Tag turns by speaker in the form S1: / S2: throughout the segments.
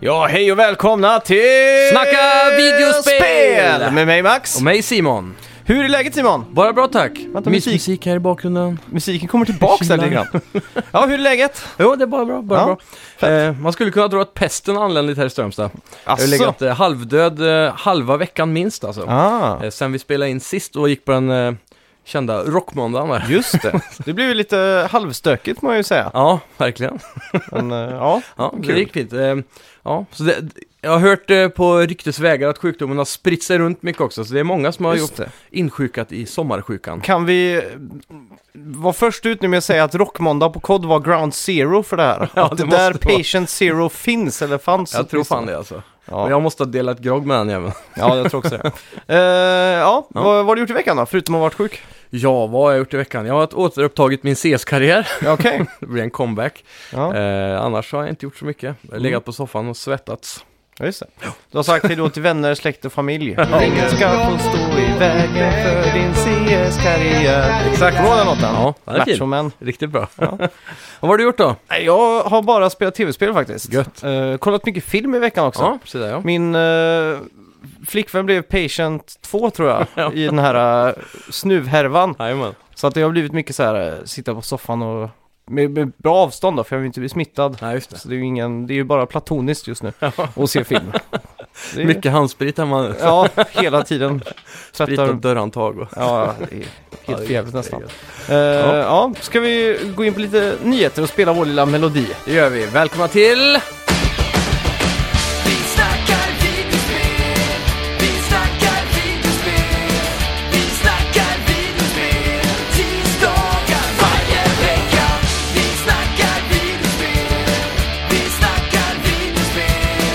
S1: Ja, hej och välkomna till...
S2: Snacka videospel!
S1: Spel! Med mig Max.
S2: Och mig Simon.
S1: Hur är läget Simon?
S2: Bara bra tack.
S1: Vänta,
S2: Mysmusik
S1: musik.
S2: musik här i bakgrunden.
S1: Musiken kommer tillbaks här lite
S2: Chilla.
S1: grann. Ja, hur är läget?
S2: Jo, det är bara bra. Bara
S1: Ja,
S2: bra. Eh, man skulle kunna dra att pesten anländigt här i Strömstad. Jag har
S1: Asså?
S2: legat eh, halvdöd eh, halva veckan minst alltså.
S1: Ah,
S2: Eh, sen vi spelade in sist och gick på den eh, kända rockmåndagen där.
S1: just det. Det blev ju lite halvstökigt må jag ju säga.
S2: Ja, verkligen.
S1: Men, eh, ja.
S2: Ja,
S1: Kul.
S2: det gick fint. Eh, ja, så det, jag har hört eh, på ryktesvägar att sjukdomen har spritt sig runt mycket också, så det är många som har
S1: Just
S2: gjort insjukat i sommarsjukan.
S1: Kan vi eh, vara först ut nu med att säga att Rockmåndag på kod var ground zero för det här?
S2: Ja,
S1: att det
S2: det måste
S1: där
S2: vara.
S1: patient zero finns eller fanns.
S2: Jag tror fan det alltså.
S1: Ja,
S2: Men
S1: ja.
S2: jag måste ha delat grogg med den jäveln.
S1: jag tror också det. Eh, ja,
S2: Ja.
S1: Vad, vad har du gjort i veckan då? Förutom att ha varit sjuk?
S2: Ja, vad har jag gjort i veckan? Jag har återupptagit min CS-karriär.
S1: Ja, Okej.
S2: Det blir en comeback.
S1: Ja,
S2: Eh, annars har jag inte gjort så mycket. Jag har legat på soffan och svettats.
S1: just det. Du har sagt hej då till vänner, släkt och familj. Ingen ska få stå i vägen för din CS-karriär. Exakt, var den låten?
S2: Ja, den är fin.
S1: Machoman.
S2: Riktigt bra. vad har du gjort då?
S1: Nej, Jag har bara spelat tv-spel faktiskt.
S2: Gött.
S1: Eh, kollat mycket film i veckan också.
S2: Ja, så där ja.
S1: Min eh, flickvän blev patient 2 tror jag
S2: Ja.
S1: i den här eh, snuvhärvan.
S2: Jajamän.
S1: Så att det har blivit mycket så här eh, sitta på soffan och med, med bra avstånd då, för jag vill inte bli smittad.
S2: Ja, just det.
S1: Så det är ju ingen, det är ju bara platoniskt just nu att se film. Det är,
S2: Mycket handsprit hemma.
S1: Ja, hela tiden.
S2: Sprit och
S1: Tvättar,
S2: dörrhandtag. Och...
S1: ja, det är
S2: Ja, det
S1: helt
S2: är-
S1: förjävligt nästan.
S2: det är gött.
S1: Eh, ja, ska vi gå in på lite nyheter och spela vår lilla melodi?
S2: Det gör vi. Välkomna till...
S3: Vi snackar videospel, vi snackar videospel, vi snackar videospel, tisdagar varje vecka. Vi snackar videospel, vi snackar videospel,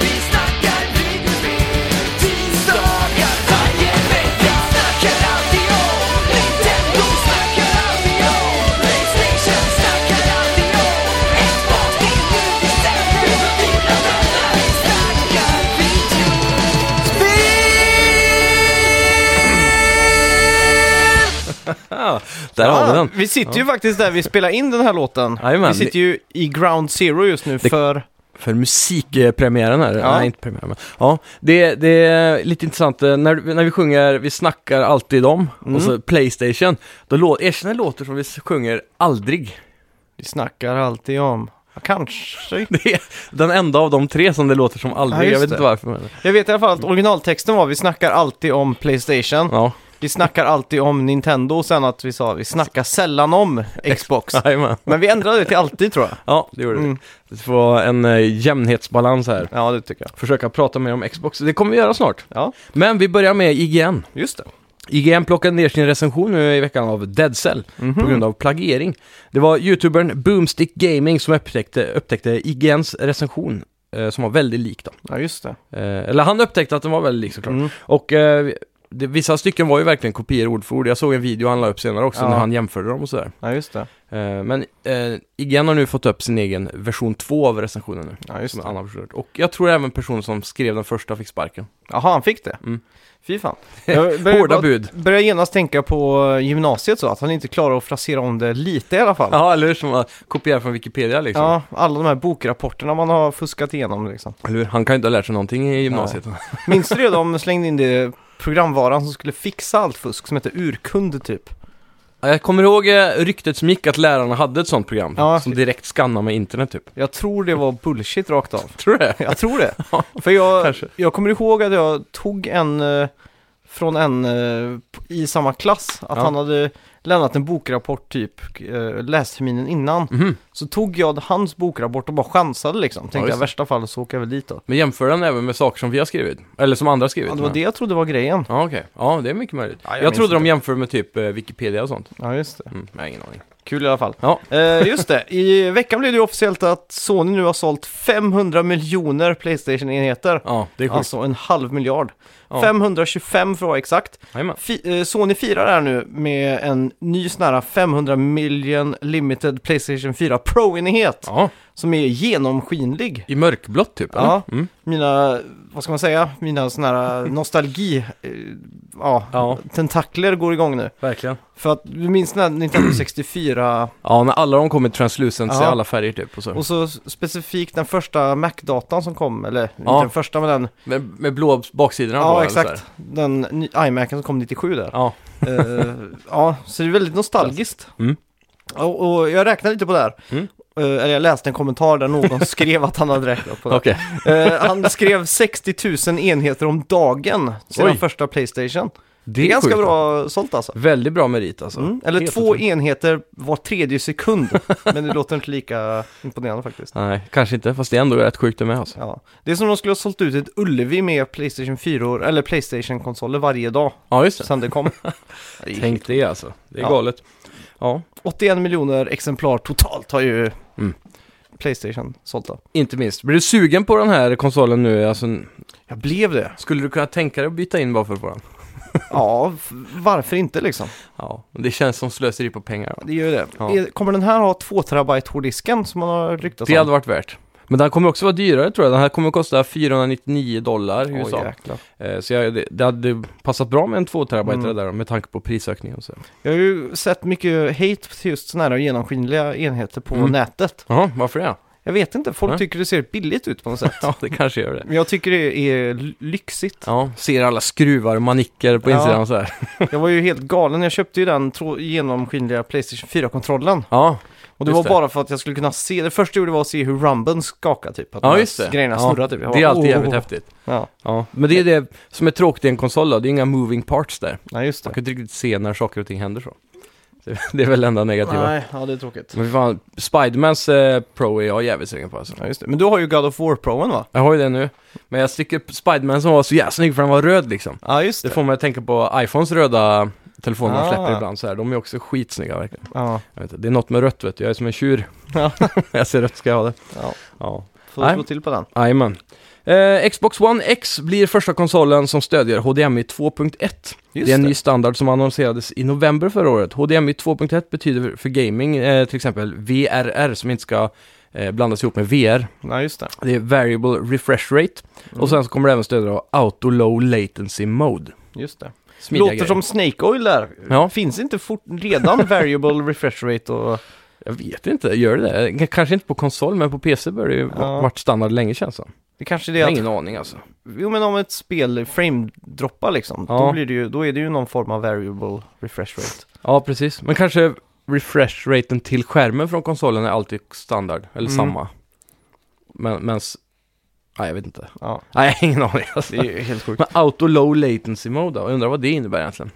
S3: vi snackar videospel, tisdagar varje vecka. Snackar alltid om Nintendo, snackar alltid om Playstation, snackar alltid om Xbox, till nu december för dina vänner. Vi snackar video.
S2: Ja, där
S1: Ja,
S2: har vi den.
S1: Ah, Vi sitter ju faktiskt där vi spelar in den här låten.
S2: Jajamän.
S1: vi sitter ju i ground zero just nu
S2: Det-
S1: för...
S2: För musikpremiären här.
S1: Ja.
S2: Nej, inte premiären. Men, ja, det, det är lite intressant. eh, När, när vi sjunger Vi snackar alltid om och så Playstation, då lå, erkänner låter som vi sjunger aldrig.
S1: Vi snackar alltid om... Ja, Kanske.
S2: Det är den enda av de tre som det låter som
S1: Ja,
S2: aldrig.
S1: just
S2: jag vet
S1: det.
S2: inte varför. Men,
S1: Jag vet i alla fall att originaltexten var vi snackar alltid om Playstation.
S2: ja,
S1: Vi snackar alltid om Nintendo och sen att vi sa vi snackar sällan om Xbox.
S2: jajamän.
S1: Men vi ändrade det till alltid tror jag.
S2: Ja, det gjorde
S1: Mm.
S2: det. Det får vara en eh, jämnhetsbalans här.
S1: Ja, det tycker jag.
S2: Försöka prata mer om Xbox. Det kommer vi göra snart.
S1: Ja,
S2: Men vi börjar med IGN.
S1: just det.
S2: IGN plockade ner sin recension nu i veckan av Dead Cell
S1: Mm.
S2: på grund av plagiering. Det var youtubern Boomstick Gaming som upptäckte, upptäckte IGNs recension eh, som var väldigt lik dem.
S1: Ja, just det.
S2: Eh, eller han upptäckte att den var väldigt lik såklart.
S1: Mm.
S2: Och eh, det, vissa stycken var ju verkligen kopior ord för ord. Jag såg en video han la upp senare också
S1: Ja.
S2: när han jämförde dem och sådär.
S1: Ja, just det.
S2: Eh, men eh, IGN har nu fått upp sin egen version 2 av recensionen nu.
S1: Ja, just
S2: Som
S1: det.
S2: en annan version. Och jag tror även personen som skrev den första fick sparken.
S1: Jaha, han fick det?
S2: Mm.
S1: Fy fan. Jag börjar
S2: Hårda
S1: bara-
S2: bud.
S1: Börjar genast tänka på eh, gymnasiet så, att han inte klarar att frasera om det lite i alla fall.
S2: Ja, eller hur? Som var kopierad från Wikipedia liksom.
S1: Ja, alla de här bokrapporterna man har fuskat igenom liksom.
S2: Eller hur? Han kan ju inte ha lärt sig någonting i gymnasiet.
S1: Minns du det de slängde in det programvaran som skulle fixa allt fusk som hette Urkund typ?
S2: Ja, Jag kommer ihåg eh, ryktet som gick att lärarna hade ett sånt program
S1: Ja.
S2: som direkt skannar med internet typ.
S1: Jag tror det var bullshit rakt av.
S2: Tror du det?
S1: Jag tror det. För jag,
S2: Kanske.
S1: jag kommer ihåg att jag tog en eh, från en eh, p- i samma klass, att
S2: Ja.
S1: han hade lämnat en bokrapport typ eh, lästerminen innan.
S2: Mhm.
S1: Så tog jag hans bokrapport och bara chansade liksom. Tänkte
S2: just
S1: jag i
S2: det.
S1: värsta fall så åker jag väl dit då.
S2: Men jämför den även med saker som vi har skrivit? Eller som andra har skrivit?
S1: Ja, det var det jag trodde var grejen.
S2: Ja, okej. Ja, det är mycket möjligt.
S1: Ja, jag
S2: jag
S1: minns
S2: trodde de
S1: inte.
S2: jämför med typ eh, Wikipedia och sånt.
S1: Ja, just det.
S2: Mm, jag har ingen aning.
S1: Kul i alla fall.
S2: Ja,
S1: Eh, just det, i veckan blev det ju officiellt att Sony nu har sålt 500 miljoner Playstation-enheter.
S2: ja det är sjukt.
S1: Alltså en halv miljard.
S2: Ja.
S1: 525 för att vara exakt.
S2: Jajamän.
S1: Fi eh, Sony firar det här nu med en ny sån här 500 million limited Playstation 4 Pro-enhet.
S2: Ja,
S1: som är genomskinlig.
S2: I mörkblått typ? eller?
S1: Ja,
S2: Mm.
S1: mina, vad ska man säga, mina sådana här nostalgi, eh, ja,
S2: Ja.
S1: tentakler går igång nu.
S2: Verkligen.
S1: För att du minns den här Nintendo 64
S2: Ja, när alla de kommer translucents i
S1: Ja.
S2: alla färger typ och så.
S1: och så specifikt den första Mac-datan som kom, eller
S2: Ja.
S1: inte den första men den,
S2: med, med blå baksidorna då,
S1: ja
S2: eller så här.
S1: exakt, den ny- iMacen som kom 97 där.
S2: Ja,
S1: Eh, ja, så det är väldigt nostalgiskt.
S2: Mm.
S1: Och, och jag räknade lite på det här.
S2: Mm.
S1: Eh, eller jag läste en kommentar där någon skrev att han hade räknat på det.
S2: okej.
S1: Eh, han skrev 60 000 enheter om dagen sedan
S2: Oj.
S1: första Playstation.
S2: Det
S1: Det är, ganska
S2: sjukt, då.
S1: bra sålt alltså.
S2: Väldigt bra merit alltså.
S1: Mm. Eller
S2: Helt
S1: två
S2: otroligt.
S1: enheter var tredje sekund. Men det låter inte lika imponerande faktiskt.
S2: Nej, kanske inte, fast det är ändå rätt sjukt det med alltså.
S1: Ja. Det är som om de skulle ha sålt ut ett Ullevi med Playstation 4 eller Playstation-konsoler varje dag
S2: Ja, just det.
S1: sedan det kom.
S2: Tänk det alltså. Det är
S1: Ja.
S2: galet. Ja,
S1: 81 miljoner exemplar totalt har ju
S2: Mm.
S1: Playstation sålt då.
S2: inte minst. Blir du sugen på den här konsolen nu? Alltså,
S1: Jag blev det.
S2: skulle du kunna tänka dig att byta in bara för våran?
S1: Ja, f- varför inte liksom?
S2: Ja, det känns som slöseri på pengar.
S1: Det gör ju det.
S2: Ja.
S1: Är- Kommer den här ha 2 terabyte hårddisken som man har ryktats
S2: Det
S1: om?
S2: hade varit värt. Men den kommer också vara dyrare tror jag. Den här kommer att kosta 499 dollar i
S1: Åh,
S2: USA.
S1: jäklar.
S2: Eh, Så jag, det, det hade passat bra med en 2 terabyte
S1: Mm.
S2: där då, med tanke på prisökningen och så.
S1: Jag har ju sett mycket hate till just sådana här genomskinliga enheter på
S2: Mm.
S1: nätet.
S2: Jaha, varför det?
S1: Jag vet inte, folk
S2: Nej.
S1: tycker det ser billigt ut på något sätt.
S2: Ja, det kanske gör det.
S1: Men jag tycker det är l- lyxigt.
S2: Ja, ser alla skruvar och manicker på
S1: Ja.
S2: insidan och så här.
S1: Jag var ju helt galen, jag köpte ju den tro- genomskinliga Playstation 4-kontrollen.
S2: Ja,
S1: Och det
S2: Just
S1: var
S2: det.
S1: bara för att jag skulle kunna se, det första jag gjorde var att se hur rumben skakade typ. Att de
S2: ja
S1: här
S2: just det.
S1: Grejerna
S2: ja.
S1: snurrade typ. Jag
S2: Det är
S1: bara,
S2: alltid jävligt
S1: "Åh."
S2: häftigt.
S1: Ja,
S2: Oh. Ja, men det är det som är tråkigt i en konsol då. Det är inga moving parts där.
S1: nej just
S2: Man
S1: det.
S2: kan inte riktigt se när saker och ting händer så. Det- Det är väl det enda negativa.
S1: Nej, ja det är tråkigt.
S2: Men fy fan, Spidermans eh, Pro är jag jävligt sugen på alltså.
S1: Ja, just det. Men du har ju God of War-proen va?
S2: Jag har ju det nu. Men jag sticker upp Spiderman som var så jävla snygg för den var röd liksom.
S1: Ja, just
S2: Det får mig att tänka på iPhones röda telefoner de
S1: Ah.
S2: släpper ibland så här. De är också skitsnygga verkligen.
S1: Ja,
S2: Jag vet inte, det är något med rött vet du, jag är som en tjur.
S1: Ja.
S2: jag ser rött ska jag ha det.
S1: ja.
S2: Ja.
S1: Får du
S2: Nej.
S1: slå till på den.
S2: Jajamän. Eh, Xbox One X blir första konsolen som stödjer HDMI 2.1.
S1: Just
S2: det är en
S1: det.
S2: ny standard som annonserades i november förra året. HDMI 2.1 betyder för gaming eh, till exempel VRR som inte ska eh, blandas ihop med VR.
S1: Ja, just det.
S2: Det är Variable Refresh Rate.
S1: Mm.
S2: Och sen så kommer det även stödja då Auto Low Latency Mode.
S1: Just det.
S2: Smidiga
S1: Låter
S2: grejer.
S1: som Snake Oil där.
S2: Ja.
S1: Finns inte fort, redan variable refresh rate och...
S2: Jag vet inte, gör det det? K- Kanske inte på konsol, men på PC börjar det ju
S1: Ja.
S2: ja. varit standard länge känns det som.
S1: Det kanske är det
S2: Jag har
S1: att...
S2: ingen aning alltså.
S1: Jo men om ett spel frame-droppar liksom, då,
S2: Ja.
S1: blir det ju, då är det ju någon form av variable refresh rate.
S2: Ja, precis. Men kanske refresh-raten till skärmen från konsolen är alltid standard, eller
S1: Mm.
S2: samma. Men, men... s- Nej, jag vet inte.
S1: Ja,
S2: Nej, jag har ingen aning alltså.
S1: det är ju helt sjukt.
S2: Men auto low latency mode då? Jag undrar vad det innebär egentligen.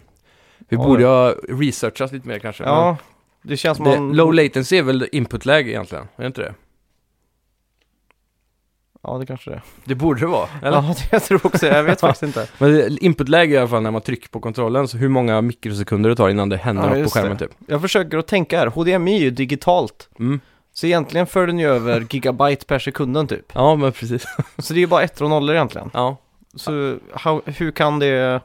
S2: Vi
S1: Ja,
S2: borde ha researchat lite mer kanske.
S1: Ja, det känns som
S2: men det,
S1: man...
S2: Low latency är väl inputläge egentligen? Är det inte det?
S1: Ja, det kanske det är.
S2: Det borde det vara, eller?
S1: Ja, det jag tror också Jag vet faktiskt inte.
S2: Men det är inputläge i alla fall när man trycker på kontrollen, så hur många mikrosekunder det tar innan det händer
S1: Ja,
S2: något på
S1: just
S2: skärmen typ.
S1: Jag försöker att tänka här. HDMI är ju digitalt.
S2: Mm.
S1: Så egentligen för den ju över gigabyte per sekunden typ.
S2: Ja, men precis.
S1: Så det är ju bara ettor och nollor egentligen.
S2: Ja.
S1: Så how, hur kan det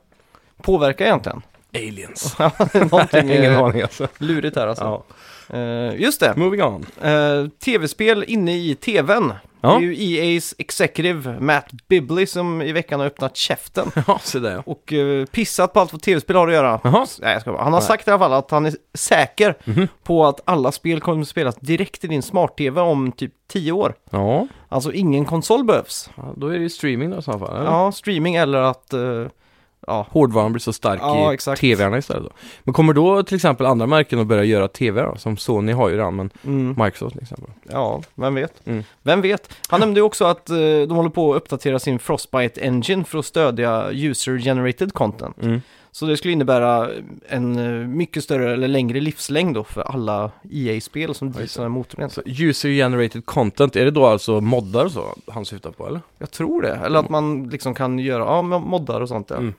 S1: påverka egentligen?
S2: Aliens.
S1: Någonting
S2: Ingen
S1: eh,
S2: aning alltså.
S1: lurigt här alltså. Eh, just det.
S2: Moving on.
S1: Eh, Tv-spel inne i tvn.
S2: Ja.
S1: Det är ju EA's executive Matt Bibley som i veckan har öppnat käften.
S2: Ja, så där ja.
S1: Och eh, pissat på allt vad tv-spel har att göra.
S2: Jaha. Mhm.
S1: Nej, jag ska bara. Han har
S2: Nej.
S1: sagt i alla fall att han är säker på att alla spel kommer att spelas direkt i din smart-tv om typ 10 år.
S2: Ja,
S1: Alltså ingen konsol behövs.
S2: ja, då är det ju streaming då i så fall. eller?
S1: Ja, streaming eller att... eh, ja,
S2: Hårdvaran blir så stark
S1: Ja,
S2: i
S1: exakt.
S2: tv-arna istället då. Men kommer då till exempel andra märken att börja göra tv då? Som Sony har ju redan, men
S1: mm,
S2: Microsoft till exempel.
S1: ja, vem vet?
S2: Mm.
S1: Vem vet? Han nämnde ju också att eh, de håller på att uppdatera sin Frostbite Engine för att stödja user-generated content.
S2: Mm.
S1: Så det skulle innebära en eh, mycket större eller längre livslängd då för alla EA-spel som drivs av den motorn. egentligen.
S2: Så user generated content, är det då alltså moddar och så han syftar på eller?
S1: Jag tror det, eller att man liksom kan göra ja, men moddar och sånt ja.
S2: Mm.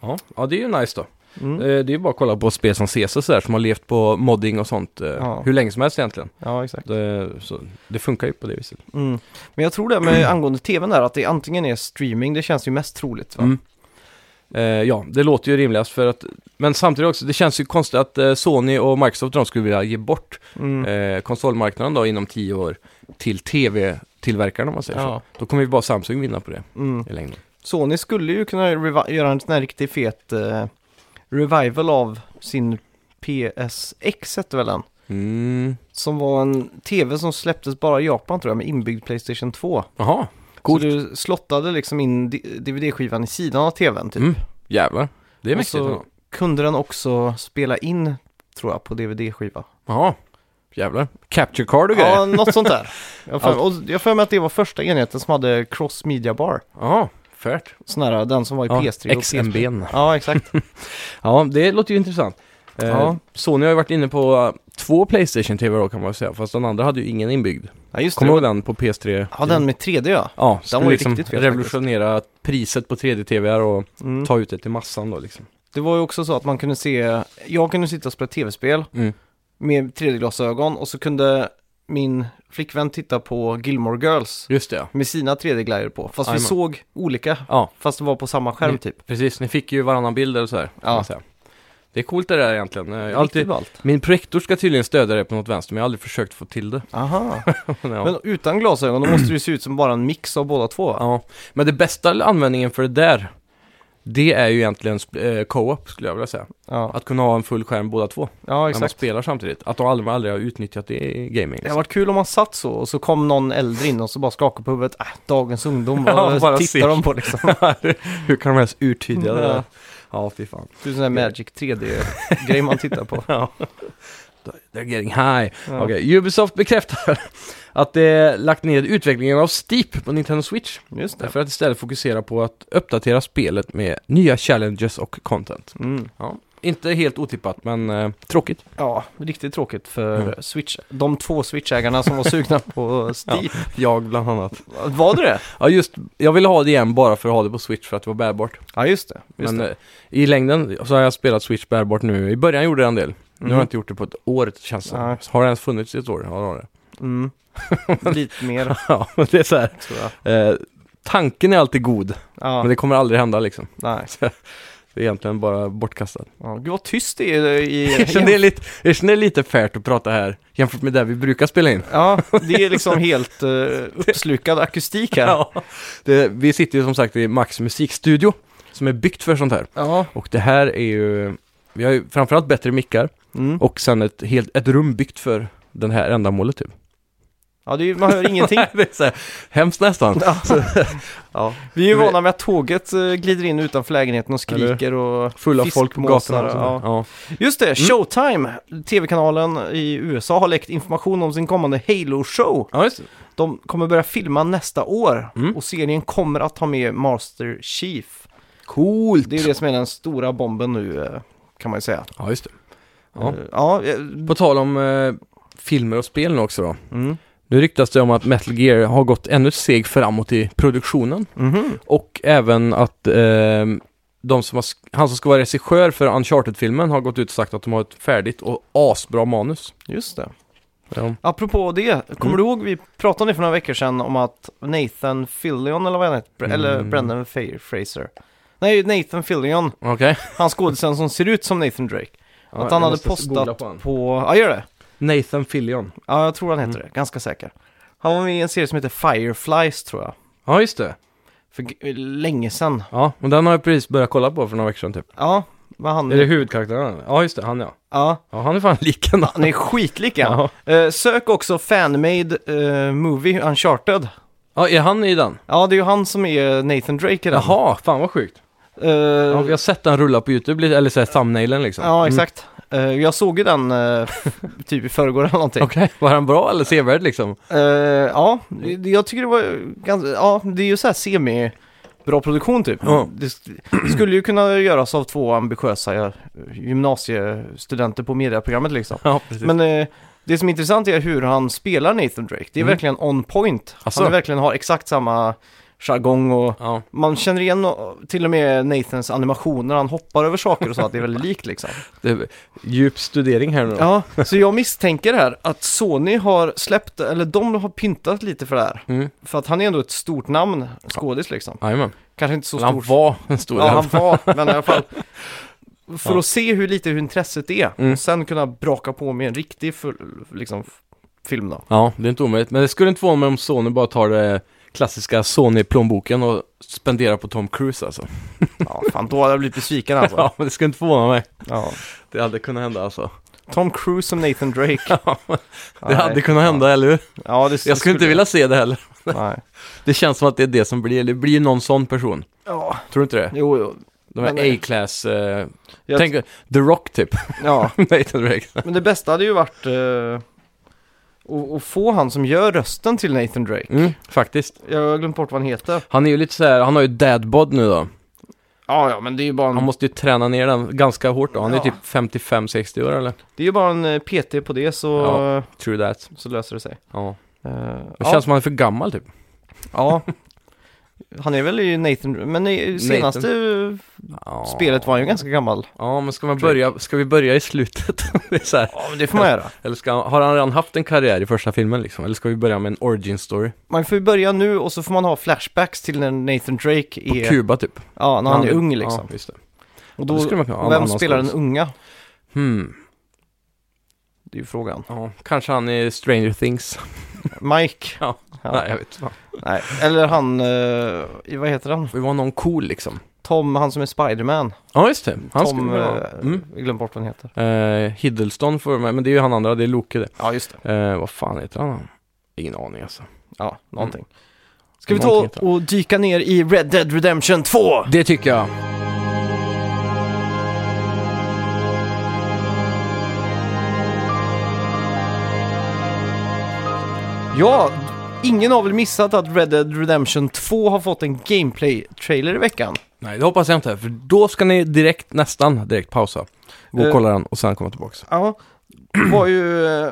S2: Ja, ja det är ju nice då.
S1: Mm.
S2: Eh, Det är ju bara att kolla på spel som ses och sådär som har levt på modding och sånt eh,
S1: Ja.
S2: hur länge som helst egentligen.
S1: Ja, exakt.
S2: Det, så, det funkar ju på det viset.
S1: Mm. Men jag tror det med angående tvn där, att det antingen är streaming, det känns ju mest troligt va?
S2: Mm. Eh, ja, det låter ju rimligast för att, men samtidigt också, det känns ju konstigt att eh, Sony och Microsoft de skulle vilja ge bort
S1: Mm.
S2: eh, konsolmarknaden då inom tio år till tv-tillverkarna om man säger
S1: Ja.
S2: så. Då kommer ju bara Samsung vinna på det
S1: Mm.
S2: i längden.
S1: Sony skulle ju kunna revi- göra en sån här riktigt fet eh, revival av sin PSX hette väl den?
S2: Mm.
S1: Som var en tv som släpptes bara i Japan tror jag med inbyggd Playstation 2.
S2: Jaha, coolt.
S1: Så du slottade liksom in di- DVD-skivan i sidan av tvn typ.
S2: Mm. Jävlar, det är
S1: Och
S2: mäktigt.
S1: så-
S2: ändå.
S1: Kunde den också spela in tror jag på DVD-skiva.
S2: Jaha, jävlar. Capture card och
S1: Ja,
S2: grejer.
S1: något sånt där. Jag har för- och jag har för mig att det var första enheten som hade Cross Media Bar.
S2: Jaha, färt.
S1: Sån här, den som var i
S2: Ja,
S1: PS3 och
S2: XMB.
S1: PS4. Ja, exakt.
S2: Ja, det låter ju intressant. Eh,
S1: Ja.
S2: Sony har ju varit inne på eh, två Playstation TV då kan man väl säga, fast den andra hade ju ingen inbyggd.
S1: Ja, just
S2: Kommer du
S1: det.
S2: ihåg den på PS3?
S1: Ja, den med 3D ja.
S2: Ja, skulle
S1: var ju
S2: liksom
S1: riktigt fet
S2: revolutionera priset på 3D-TVR och
S1: Mm.
S2: ta ut det till massan då liksom.
S1: Det var ju också så att man kunde se, jag kunde sitta och spela tv-spel
S2: Mm.
S1: med 3D-glasögon och så kunde min flickvän titta på Gilmore Girls
S2: Just det ja.
S1: med sina 3D-glajjor på. Fast vi
S2: Jajamän.
S1: såg olika,
S2: Ja,
S1: fast det var på samma skärm
S2: Mm.
S1: typ.
S2: precis. Ni fick ju varannan bild eller så här. kan
S1: Ja.
S2: man säga. Det är coolt det där egentligen. Jag har
S1: Riktigt
S2: alltid...
S1: ballt.
S2: Min projektor ska tydligen stödja det på något vänster, men jag har aldrig försökt få till det.
S1: Aha.
S2: Men, ja.
S1: Men utan glasögon då måste det ju se ut som bara en mix av båda två va?
S2: Ja, men det bästa användningen för det där, det är ju egentligen sp- eh, co-op skulle jag vilja säga.
S1: Ja,
S2: Att kunna ha en full skärm båda två,
S1: ja
S2: när man
S1: exakt.
S2: spelar samtidigt. Att de aldrig, aldrig har utnyttjat det i gaming.
S1: Det har
S2: Liksom.
S1: varit kul om man satt så och så kom någon äldre in och så bara skakade på huvudet. Äh, dagens ungdom,
S2: Ja,
S1: vad
S2: bara
S1: tittar
S2: ser.
S1: de på liksom?
S2: Hur kan de ens urtydliga det där?
S1: Ja.
S2: Ja, fy fan.
S1: Det är sån här Magic 3D-grej man tittar på.
S2: They're getting high.
S1: Ja.
S2: Okej, Ubisoft bekräftar att det lagt ned utvecklingen av Steep på Nintendo Switch.
S1: Just det.
S2: För att istället fokusera på att uppdatera spelet med nya challenges och content.
S1: Mm.
S2: Inte helt otippat, men eh, tråkigt.
S1: Ja, riktigt tråkigt för
S2: Mm.
S1: Switch. De två Switch-ägarna som var sugna på Steam.
S2: Jag bland annat.
S1: Var det det?
S2: Ja, just. Jag ville ha det igen bara för att ha det på Switch för att det var bärbart.
S1: Ja, just det. Just
S2: Men
S1: det.
S2: eh, i längden så har jag spelat Switch bärbart nu. I början gjorde jag en del. Nu har jag inte gjort det på ett år känns det
S1: Mhm. Nej.
S2: Har det ens funnits i ett år? Ja, det har det.
S1: Mm. Lite mer,
S2: Ja, men det är så här.
S1: tror jag.
S2: Eh, tanken är alltid god,
S1: Ja,
S2: men det kommer aldrig hända liksom.
S1: nej.
S2: Det är egentligen bara bortkastat.
S1: Ja, gud vad tyst det är i...
S2: Jag känner det är lite, jag känner det är lite färt att prata här jämfört med där vi brukar spela in.
S1: Ja, det är liksom helt eh, uppslukad akustik här.
S2: Ja. Det, vi sitter ju som sagt i Max musikstudio som är byggt för sånt här.
S1: Ja.
S2: Och det här är ju, vi har ju framförallt bättre mickar
S1: Mm.
S2: och sen ett, helt, ett rum byggt för den här ändamålet typ.
S1: ja det är, ju- man hör ingenting.
S2: det är så här, hemskt nästan.
S1: Ja.
S2: Ja.
S1: Vi är ju vana med att tåget eh, glider in utanför lägenheten och skriker och...
S2: Full av folk på
S1: fiskmåsar,
S2: gatorna. Och sådär. Mm.
S1: ja.
S2: ja.
S1: Just det, Showtime! TV-kanalen i USA har läckt information om sin kommande Halo-show.
S2: ja, just det.
S1: De kommer börja filma nästa år
S2: Mm.
S1: och serien kommer att ha med Master Chief.
S2: Coolt!
S1: Det är ju det som är den stora bomben nu eh, kan man ju säga.
S2: Ja, just det. Ja.
S1: Eh, ja eh,
S2: På tal om eh, filmer och spel nu också då.
S1: mm.
S2: Nu ryktas det om att Metal Gear har gått ännu ett steg framåt i produktionen
S1: Mhm.
S2: och även att eh, de som har, sk- han som ska vara regissör för Uncharted-filmen har gått ut och sagt att de har ett färdigt och asbra manus.
S1: Just det.
S2: Ja,
S1: Apropå det, kommer
S2: Mm.
S1: du ihåg vi pratade om det för några veckor sedan om att Nathan Fillion eller vad han heter, Br- eller
S2: Mm.
S1: Brendan Fa- Fraser. Nej, Nathan Fillion,
S2: okej.
S1: han skådisen som ser ut som Nathan Drake.
S2: Ja,
S1: Att
S2: jag
S1: han hade
S2: måste googla
S1: postat
S2: på han.
S1: på, ja gör det.
S2: Nathan Fillion.
S1: Ja, jag tror han
S2: Mm.
S1: heter det, ganska säker. Han var med i en serie som heter Fireflies tror jag.
S2: Ja, just det.
S1: För g- länge sedan.
S2: Ja, men den har jag precis börjat kolla på för några veckor sedan typ.
S1: Ja, men han...
S2: Är det huvudkaraktären? Ja, just det. Han ja.
S1: Ja,
S2: Ja, han är fan lik ändå.
S1: han är skitlik han.
S2: Ja.
S1: Eh, Sök också fanmade eh, movie Uncharted.
S2: ja, är han i den?
S1: Ja, det är ju han som är Nathan Drake i den.
S2: Jaha, fan vad sjukt.
S1: Eh,
S2: Ja, jag har sett den rulla på YouTube, lite- eller såhär thumbnailen liksom.
S1: ja,
S2: Mm.
S1: exakt. Eh, jag såg ju den eh, typ i förrgår eller någonting.
S2: Okej, var han bra eller sevärd liksom?
S1: Eh, ja, det- jag tycker det var ganska, ja, det är ju så här semi bra produktion typ.
S2: Ja.
S1: Det sk- skulle ju kunna göras av två ambitiösa eh, gymnasiestudenter på mediaprogrammet liksom.
S2: Ja, precis.
S1: Men eh, det som är intressant är hur han spelar Nathan Drake. Det är
S2: Mm.
S1: verkligen on point.
S2: Asså?
S1: Han verkligen har exakt samma jargong och
S2: Ja.
S1: man känner igen och- till och med Nathans animationer, han hoppar över saker och så, att det är väldigt likt liksom.
S2: Det, djup studering här nu då.
S1: Ja, så jag misstänker här att Sony har släppt, eller de har pyntat lite för det här.
S2: Mm.
S1: För att han är ändå ett stort namn, skådis liksom.
S2: Jajamän.
S1: Kanske inte så
S2: Eller Han
S1: stor.
S2: var en stor
S1: Ja, han var, men i alla fall. För
S2: Ja.
S1: att se hur lite hur intresset är
S2: Mm.
S1: och sen kunna braka på med en riktig full, liksom, f- film då.
S2: Ja, det är inte omöjligt. Men det skulle inte vara mig om Sony bara tar det klassiska Sony-plånboken och spenderar på Tom Cruise alltså.
S1: Ja, fan då hade jag blivit besviken alltså.
S2: Ja, men det skulle inte förvåna mig.
S1: Ja.
S2: Det hade kunnat hända alltså.
S1: Tom Cruise som Nathan Drake.
S2: Det
S1: Nej.
S2: hade kunnat hända, eller hur?
S1: Ja, det
S2: Jag skulle inte vilja se det heller.
S1: Nej.
S2: Det känns som att det är det som blir, det blir någon sån person.
S1: Ja,
S2: Tror du inte det?
S1: jo, jo.
S2: De här
S1: Men, eh,
S2: A-class, eh,
S1: Jag-
S2: tänk The Rock typ,
S1: Ja,
S2: Nathan Drake.
S1: men det bästa hade ju varit eh, att att få han som gör rösten till Nathan Drake.
S2: Mm, faktiskt.
S1: Jag har glömt bort vad han heter.
S2: Han är ju lite så här, han har ju dadbod nu då.
S1: Ja, ja, men det är ju bara en,
S2: Han måste ju träna ner den ganska hårt då. Han är
S1: Ja.
S2: typ 55-60 år eller?
S1: det är ju bara en eh, PT på det så,
S2: Ja. True that.
S1: så löser det sig.
S2: Ja.
S1: Eh,
S2: Det känns som han är för gammal typ.
S1: ja. Han är väl i Nathan, men i senaste
S2: Ja.
S1: spelet var han ju ganska gammal.
S2: Ja, men ska, man börja, ska vi börja i slutet? det är så här.
S1: Ja, men det får man göra.
S2: Eller ska, har han redan haft en karriär i första filmen liksom? Eller ska vi börja med en origin story?
S1: Man får ju börja nu och så får man ha flashbacks till när Nathan Drake
S2: På
S1: är,
S2: Kuba typ?
S1: ja, när han är ung liksom.
S2: Ja, just det.
S1: Och
S2: det
S1: då,
S2: skulle man kunna ha.
S1: och vem
S2: Annan
S1: spelar den
S2: skådis.
S1: unga?
S2: Hmm.
S1: Det är ju frågan.
S2: Ja, kanske han är Stranger Things.
S1: Mike.
S2: Ja.
S1: Ja.
S2: Nej, jag vet inte.
S1: Nej. Eller han, eh, i- vad heter han?
S2: Vi var någon cool liksom.
S1: Tom, han som är Spiderman.
S2: Ja, just det. Han skulle
S1: Tom,
S2: vi ha.
S1: eh,
S2: mm.
S1: jag glömde bort vad han heter.
S2: Eh, Hiddleston får med, men det är ju han andra, det är Loke det.
S1: Ja, just det.
S2: Eh, vad fan heter han? Ingen aning alltså.
S1: Ja, någonting. Mm. Ska vi
S2: Någonting
S1: ta
S2: heter han.
S1: och dyka ner i Red Dead Redemption 2?
S2: Det tycker jag.
S1: Ja, ingen har väl missat att Red Dead Redemption 2 har fått en gameplay-trailer i veckan.
S2: Nej, det hoppas jag inte. För då ska ni direkt, nästan direkt pausa. Gå
S1: Eh.
S2: och kolla den och sen komma tillbaka.
S1: Ja, det var ju, eh,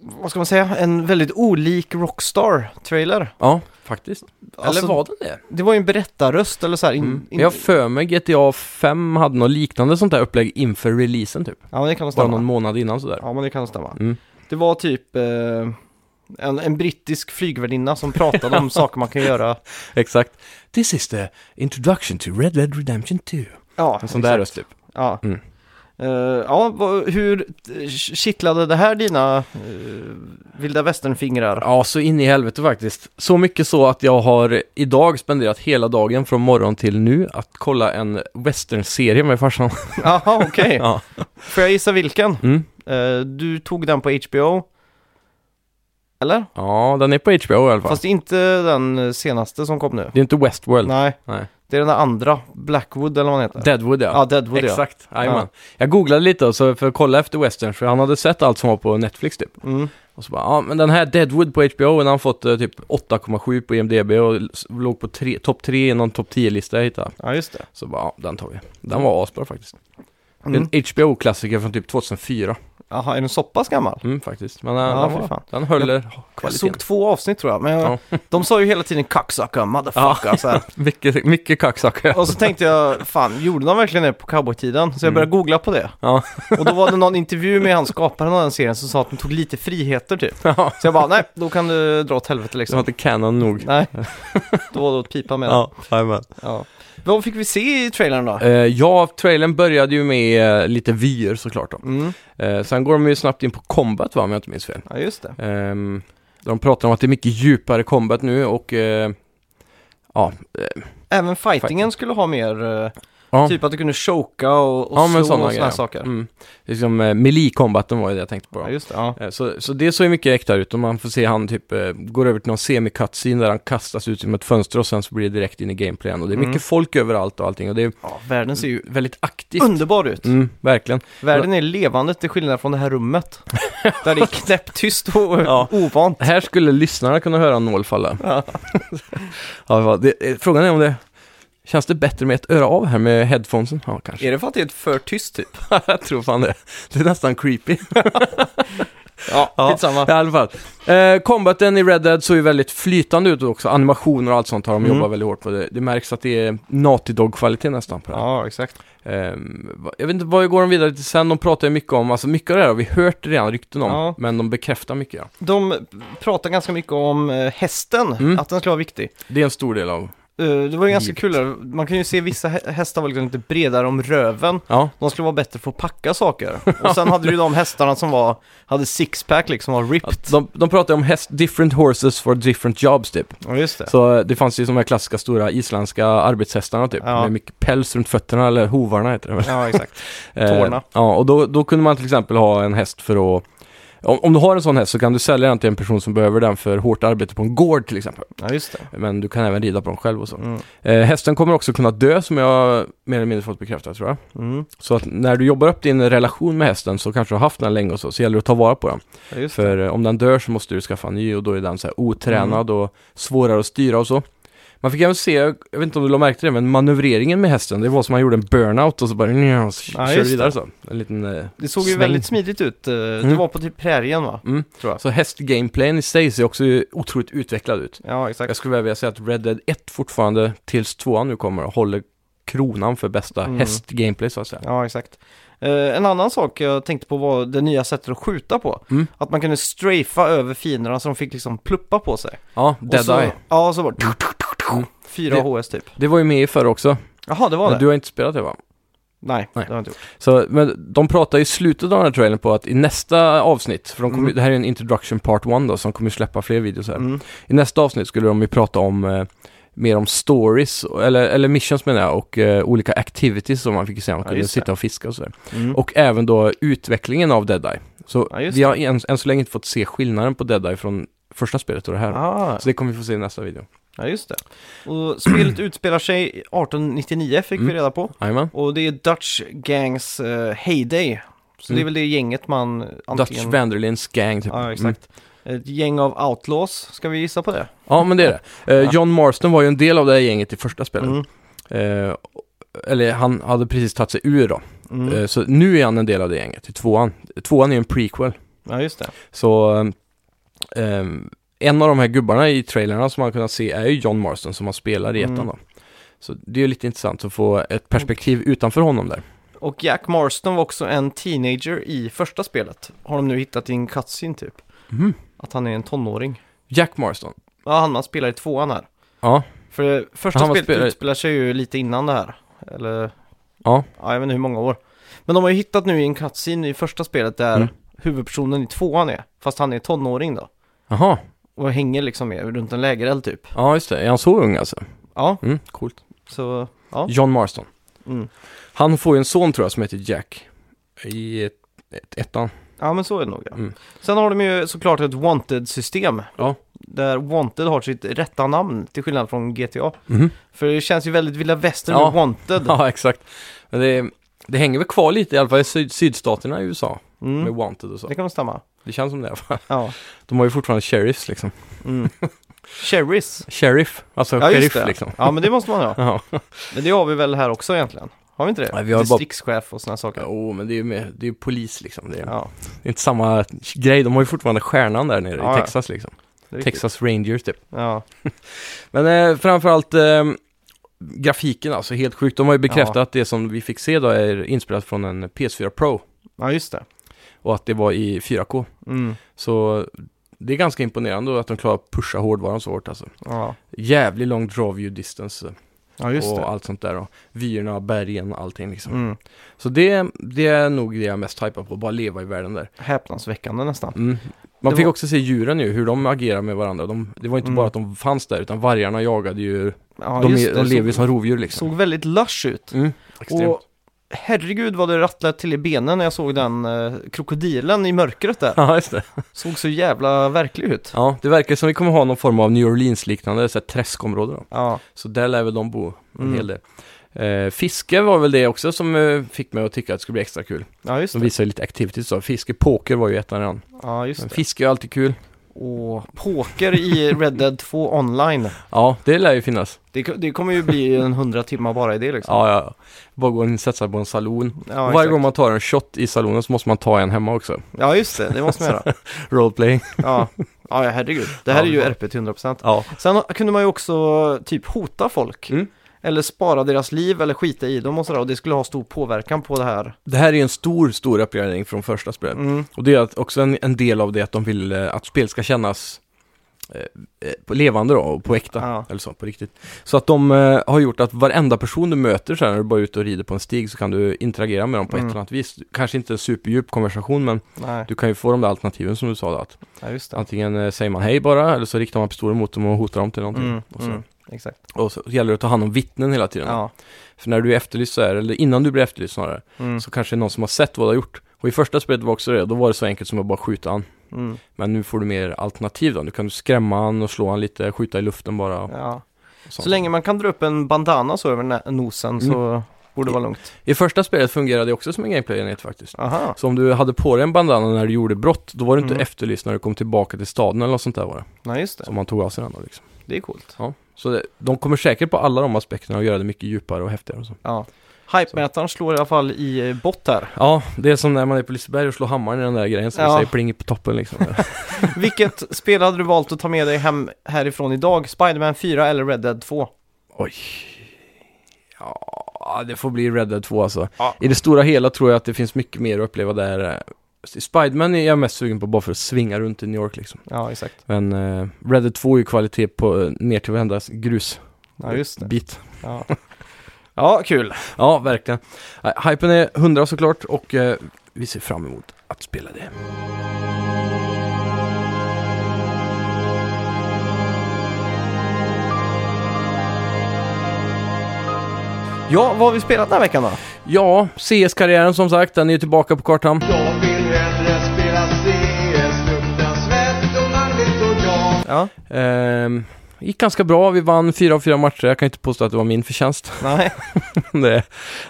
S1: vad ska man säga, en väldigt olik Rockstar-trailer.
S2: Ja, faktiskt.
S1: Alltså,
S2: Eller var den det?
S1: Det var ju en berättarröst eller så här. In,
S2: Mm.
S1: in,
S2: Jag har för mig GTA 5 hade något liknande sånt där upplägg inför releasen typ.
S1: ja, men det kan
S2: Bara
S1: stämma.
S2: någon månad innan sådär.
S1: Ja, men det kan stämma.
S2: Mm.
S1: Det var typ eh, en, en brittisk flygvärdinna som pratade om saker man kan göra.
S2: Exakt. This is the introduction to Red Dead Redemption 2.
S1: Ja,
S2: En sån där röst typ.
S1: Ja.
S2: Mm.
S1: Eh, ja, vad- hur eh, kittlade det här dina uh, vilda västernfingrar?
S2: Ja, så in i helvete faktiskt. Så mycket så att jag har idag spenderat hela dagen från morgon till nu att kolla en western-serie med farsan.
S1: Jaha, okej.
S2: Ja.
S1: Får jag gissa vilken?
S2: Mm.
S1: Eh, du tog den på HBO? Eller?
S2: ja, den är på HBO i alla fall.
S1: Fast det är inte den senaste som kom nu.
S2: Det är inte Westworld.
S1: Nej,
S2: Nej.
S1: det är den där andra, Blackwood eller vad den heter.
S2: Deadwood ja.
S1: ja, Deadwood ja.
S2: Exakt, jajamän. Jag googlade lite och så för att kolla efter western, för han hade sett allt som var på Netflix typ.
S1: Mm.
S2: Och så bara, ja men den här Deadwood på HBO, den har fått eh, typ 8,7 på IMDB och s- låg på tre- topp 3 i någon topp 10-lista jag hittade.
S1: Ja, just det.
S2: Så bara, ja den tar vi. Den var asbra faktiskt.
S1: Mm.
S2: Det är en HBO-klassiker från typ 2004,
S1: Jaha, är den så pass gammal?
S2: mm, faktiskt. Men eh,
S1: Ja,
S2: den,
S1: fy
S2: var,
S1: fan.
S2: den höll eh,
S1: Jag
S2: kvaliteten.
S1: såg två avsnitt tror jag, men jag, de sa ju hela tiden 'cocksucker, motherfucker' så här.
S2: Mycket, mycket kacksaker.
S1: Och så tänkte jag, fan, gjorde de verkligen det på cowboytiden? Så jag började googla på det.
S2: Mm. Ja.
S1: Och då var det någon intervju med han skaparen av den serien som sa att de tog lite friheter typ.
S2: Ja,
S1: Så jag bara, nej, då kan du dra åt helvete
S2: som
S1: liksom.
S2: inte canon nog.
S1: Nej, då var det åt pipa med. Ja.
S2: Ja, jajamän.
S1: Ja. Vad fick vi se i trailern då?
S2: Eh, ja, trailern började ju med eh, lite vyer såklart då.
S1: Mm.
S2: Eh, sen går de ju snabbt in på combat va, om jag inte minns fel.
S1: Ja, just det.
S2: Ehm, de pratar om att det är mycket djupare combat nu och eh, ja, eh,
S1: Även fightingen skulle ha mer, eh,
S2: ja.
S1: typ att du kunde choka och, och
S2: ja,
S1: slå
S2: men sådana
S1: och sådana
S2: grejer.
S1: saker.
S2: Mm. Det är Liksom, eh, melee-combaten var ju det jag tänkte på.
S1: Ja,
S2: Då.
S1: just det. Ja.
S2: Eh, så, så det såg ju mycket äkta ut och man får se han typ eh, går över till någon semi-cutscene där han kastas ut genom ett fönster och sen så blir det direkt in i gameplayen och det är
S1: Mm.
S2: mycket folk överallt och allting och det är
S1: ja, världen ser ju
S2: väldigt aktivt.
S1: underbar ut.
S2: Mm, verkligen.
S1: Världen är levande till skillnad från det här rummet. där det är knäpptyst och
S2: Ja.
S1: ovant.
S2: Här skulle lyssnarna kunna höra en nål falla. Ja. ja, det, eh, frågan är om det känns det bättre med ett öra av här med headphonesen? Ja, kanske.
S1: Är det för att det är för tyst typ?
S2: jag tror fan det. Det är nästan creepy.
S1: Ja,
S2: Ja,
S1: skitsamma.
S2: I alla fall. Eh, combaten i Red Dead såg ju väldigt flytande ut också. Animationer och allt sånt har de
S1: Mm.
S2: jobbat väldigt hårt på. Det, det märks att det är Naughty Dog-kvalitet nästan på det. här.
S1: Ja, exakt.
S2: Ehm, va- jag vet inte, vad går de vidare till sen? De pratar ju mycket om, alltså mycket av det här har vi hört redan rykten om,
S1: Ja.
S2: men de bekräftar mycket. Ja.
S1: De pratar ganska mycket om eh, hästen,
S2: Mm.
S1: att den skulle vara viktig.
S2: Det är en stor del av...
S1: Eh, Det var ju ganska
S2: Givet.
S1: kul, där. man kan ju se vissa hä- hästar var liksom lite bredare om röven.
S2: Ja,
S1: De skulle vara bättre för att packa saker. Och sen hade du ju de hästarna som var, hade sixpack liksom, var ripped.
S2: att de, de pratar ju om häst, different horses for different jobs typ.
S1: Ja, just det.
S2: Så eh, det fanns ju de här klassiska stora isländska arbetshästarna typ,
S1: Ja.
S2: med mycket päls runt fötterna, eller hovarna heter det väl?
S1: Ja, exakt.
S2: Eh,
S1: Tårna.
S2: ja, och då, då kunde man till exempel ha en häst för att... Om, om du har en sån häst så kan du sälja den till en person som behöver den för hårt arbete på en gård till exempel.
S1: Ja, just det.
S2: Men du kan även rida på den själv och så.
S1: Mm.
S2: Eh, hästen kommer också kunna dö som jag mer eller mindre fått bekräftat tror jag.
S1: Mm.
S2: Så att när du jobbar upp din relation med hästen så kanske du har haft den länge och så, så gäller det att ta vara på den.
S1: Ja, just det.
S2: För eh, om den dör så måste du skaffa en ny och då är den så här otränad
S1: Mm.
S2: och svårare att styra och så. Man fick även se, jag vet inte om du la märke till det, men manövreringen med hästen, det var som man gjorde en burnout och så bara nja, och så
S1: Ja,
S2: kör
S1: just
S2: vidare
S1: det.
S2: så. En liten, eh,
S1: Det såg ju
S2: sväng.
S1: väldigt smidigt ut. eh, Det
S2: Mm.
S1: var på typ prärien va?
S2: Mm.
S1: Tror jag.
S2: Så hästgameplayen i sig ser också otroligt utvecklad ut.
S1: Ja, exakt.
S2: Jag skulle vilja säga att Red Dead 1 fortfarande, tills 2 nu kommer, håller kronan för bästa
S1: Mm.
S2: hästgameplay så att säga.
S1: Ja, exakt. Eh, en annan sak jag tänkte på var det nya sättet att skjuta på.
S2: Mm.
S1: Att man kunde strafa över fienderna så de fick liksom pluppa på sig.
S2: Ja,
S1: Och
S2: Dead
S1: så,
S2: Eye. Mm.
S1: Ja, så bara... Fyra
S2: Det-
S1: HS typ.
S2: Det var ju med i förra också,
S1: Jaha, det var
S2: men
S1: det?
S2: du har inte spelat det va?
S1: Nej,
S2: Nej.
S1: det har jag inte gjort.
S2: Så, men de pratar i slutet av den här trailern på att i nästa avsnitt, för de kommer,
S1: Mm.
S2: det här är en introduction part 1 då, som kommer släppa fler videos här.
S1: Mm.
S2: I nästa avsnitt skulle de ju prata om eh, mer om stories, och- eller, eller missions menar jag, och eh, olika activities som man fick se, man
S1: Ja,
S2: kunde
S1: just det.
S2: sitta och fiska och sådär.
S1: Mm.
S2: Och även då utvecklingen av Dead Eye. Så
S1: Ja, just
S2: vi har än, än så länge inte fått se skillnaden på Dead Eye från första spelet och det här.
S1: Ah,
S2: Så det kommer vi få se i nästa video.
S1: ja, just det. Och spelet utspelar sig 1899 fick vi
S2: Mm.
S1: reda på.
S2: Jajamän.
S1: Och det är Dutch Gangs eh, heyday. Så det är
S2: Mm.
S1: väl det gänget man
S2: Dutch
S1: antingen...
S2: Vanderlins gang typ.
S1: Ja,
S2: Mm.
S1: exakt. Ett gäng av outlaws, ska vi gissa på det?
S2: Ja, men det är det. Eh,
S1: Ja.
S2: John Marston var ju en del av det här gänget i första spelet.
S1: Mm.
S2: Eh, eller han hade precis tagit sig ur då.
S1: Mm.
S2: Eh, så nu är han en del av det gänget i tvåan. Tvåan är ju en prequel.
S1: Ja, just det.
S2: Så ehm, en av de här gubbarna i trailerna som man kunnat se är ju John Marston som han spelar i
S1: Mm.
S2: ettan då. Så det är ju lite intressant att få ett perspektiv utanför honom där.
S1: Och Jack Marston var också en teenager i första spelet. Har de nu hittat i en cutscene typ.
S2: Mm.
S1: Att han är en tonåring.
S2: Jack Marston.
S1: Ja, han, han spelar i tvåan här.
S2: Ja,
S1: För det första
S2: Han var
S1: spelet
S2: spelare-
S1: utspelar sig ju lite innan det här. Eller,
S2: ja,
S1: ja, jag vet inte hur många år. Men de har ju hittat nu i en cutscene i första spelet där
S2: Mm.
S1: huvudpersonen i tvåan är. Fast han är tonåring då.
S2: jaha.
S1: Och hänger liksom med runt en lägereld typ.
S2: Ja, just det. Är han så ung alltså?
S1: Ja,
S2: Mm, coolt.
S1: så, ja.
S2: John Marston.
S1: Mm.
S2: Han får ju en son tror jag som heter Jack. I ett, ett, ettan.
S1: Ja, men så är det nog. Ja.
S2: Mm.
S1: Sen har de ju såklart ett Wanted-system.
S2: Ja.
S1: Där Wanted har sitt rätta namn, till skillnad från GTA.
S2: Mhm.
S1: För det känns ju väldigt vilda västern
S2: Ja.
S1: med Wanted.
S2: Ja, exakt. Men det, det hänger väl kvar lite i alla fall i syd, sydstaterna i USA med
S1: Mm.
S2: Wanted och så.
S1: Det kan nog stämma.
S2: Det känns som det i alla fall.
S1: Ja.
S2: De har ju fortfarande sheriffs liksom.
S1: Mm. Cherries.
S2: Sheriff, alltså
S1: Ja, just
S2: sheriff
S1: det.
S2: liksom.
S1: Ja, men det måste man ha.
S2: Ja,
S1: Men det har vi väl här också egentligen? Har vi inte det?
S2: Nej, vi har bara-
S1: Distriktschef och sådana saker.
S2: oh, men det är ju med, det är ju polis liksom. Det är,
S1: Ja,
S2: det är inte samma grej, de har ju fortfarande stjärnan där nere
S1: Ja, ja.
S2: i Texas liksom.
S1: det är riktigt.
S2: Texas Rangers typ.
S1: Ja.
S2: Men eh, framförallt eh, grafiken alltså, helt sjukt. De har ju bekräftat
S1: Ja.
S2: att det som vi fick se då är inspelat från en PS4 Pro
S1: ja, just det.
S2: och att det var i 4K.
S1: Mm.
S2: Så det är ganska imponerande att de klarar att pusha hårdvaran så hårt alltså.
S1: Ja.
S2: Jävligt lång draw view distance
S1: ja, just
S2: och
S1: det.
S2: allt sånt där då. Vyerna, bergen, allting liksom.
S1: Mm.
S2: Så det, det är nog det jag är mest hypar på, bara leva i världen där.
S1: Häpnadsväckande nästan.
S2: Mm. Man
S1: Det
S2: fick
S1: var-
S2: också se djuren ju, hur de agerar med varandra. De, det var inte
S1: Mm.
S2: bara att de fanns där, utan vargarna jagade ju,
S1: Ja,
S2: de,
S1: just
S2: är, de
S1: det.
S2: lever ju
S1: såg,
S2: som rovdjur liksom.
S1: såg väldigt lush ut.
S2: Mm. Extremt.
S1: Och herregud vad det rattlade till i benen när jag såg den eh, krokodilen i mörkret där.
S2: Ja, just det.
S1: Såg så jävla verklig ut.
S2: Ja, det verkar som vi kommer ha någon form av New Orleans-liknande så här träskområde då.
S1: Ja,
S2: Så där lär väl de bo en
S1: Mm.
S2: hel del. Eh, fiske var väl det också som eh, fick mig att tycka att det skulle bli extra kul.
S1: ja just
S2: De
S1: det.
S2: visar ju lite activities då. Fiske, poker var ju ettan redan.
S1: Ja, just
S2: Men
S1: det.
S2: fiske är ju alltid kul.
S1: Och poker i Red Dead 2 online.
S2: Ja, det lär ju finnas.
S1: Det, ko- det kommer ju bli en hundra timmar bara i det liksom.
S2: Ja, ja, ja. Bara gå och sätta sig på en saloon.
S1: Ja,
S2: Varje
S1: exakt.
S2: gång man tar en shot i salonen så måste man ta en hemma också.
S1: Ja, just det. Det måste man göra.
S2: Roleplaying.
S1: Ja, ja herregud. Det här
S2: Ja,
S1: är ju
S2: det var-
S1: RP till 100%.
S2: Ja,
S1: Sen kunde man ju också typ hota folk.
S2: Mm.
S1: Eller spara deras liv eller skita i dem och sådär. Och det skulle ha stor påverkan på det här.
S2: det här är ju en stor, stor uppgradering från första spelet.
S1: Mm.
S2: Och det är att- också en, en del av det att de vill eh, att spel ska kännas eh, eh, på- levande då, och på äkta.
S1: Ja.
S2: Eller så, på riktigt. Så att de eh, har gjort att varenda person du möter så här, när du bara är ute och rider på en stig så kan du interagera med dem på
S1: Mm.
S2: ett eller annat vis. Kanske inte en superdjup konversation men
S1: Nej,
S2: du kan ju få de där alternativen som du sa. då, Att
S1: ja, just det.
S2: antingen eh, säger man hej bara eller så riktar man pistolen mot dem och hotar dem till någonting.
S1: Mm,
S2: Och, så.
S1: mm, exakt.
S2: och så gäller det att ta hand om vittnen hela tiden.
S1: Ja.
S2: För när du är efterlyst så här, eller innan du blir efterlyst snarare,
S1: Mm,
S2: så kanske det är någon som har sett vad du har gjort. Och i första spelet var också det, då var det så enkelt som att bara skjuta han.
S1: mm,
S2: Men nu får du mer alternativ då. Nu kan du skrämma han och slå han lite, skjuta i luften bara. Och
S1: ja.
S2: sånt.
S1: Så länge man kan dra upp en bandana så över nä- nosen
S2: Mm.
S1: så borde det vara lugnt.
S2: I första spelet fungerade det också som en gameplay-enhet faktiskt.
S1: Aha.
S2: Så om du hade på dig en bandana när du gjorde brott, då var du inte
S1: Mm.
S2: efterlyst när du kom tillbaka till staden eller något sånt där var det.
S1: Nej, just det.
S2: Som man tog av sig den då liksom.
S1: Det är coolt.
S2: Ja. Så det, de kommer säkert på alla de aspekterna och göra det mycket djupare och häftigare och så.
S1: Ja. Hype-mätaren slår i alla fall i eh, bott här.
S2: Ja, det är som när man är på Liseberg och slår hammaren i den där grejen som
S1: Ja.
S2: säger pling på toppen liksom.
S1: Vilket spel hade du valt att ta med dig hem härifrån idag? Spider-Man 4 eller Red Dead 2?
S2: Oj. Ja, det får bli Red Dead 2 alltså.
S1: Ja.
S2: I det stora hela tror jag att det finns mycket mer att uppleva där. Spiderman är jag mest sugen på bara för att svinga runt i New York liksom.
S1: Ja, exakt.
S2: Men eh, Red Dead 2 är ju kvalitet på eh, ner till varenda grusbit.
S1: Ja, just det. Ja, ja kul.
S2: Ja, verkligen. Nej, hypen är 100 såklart och eh, vi ser fram emot att spela det.
S1: Ja, vad har vi spelat den här veckan då?
S2: Ja, CS-karriären som sagt, den är ju tillbaka på kartan.
S4: Jag vill hellre spela CS, lukta svett och manligt och jag
S1: Ja,
S2: Ehm, gick ganska bra, vi vann fyra av fyra matcher. Jag kan inte påstå att det var min förtjänst.
S1: nej.
S2: det,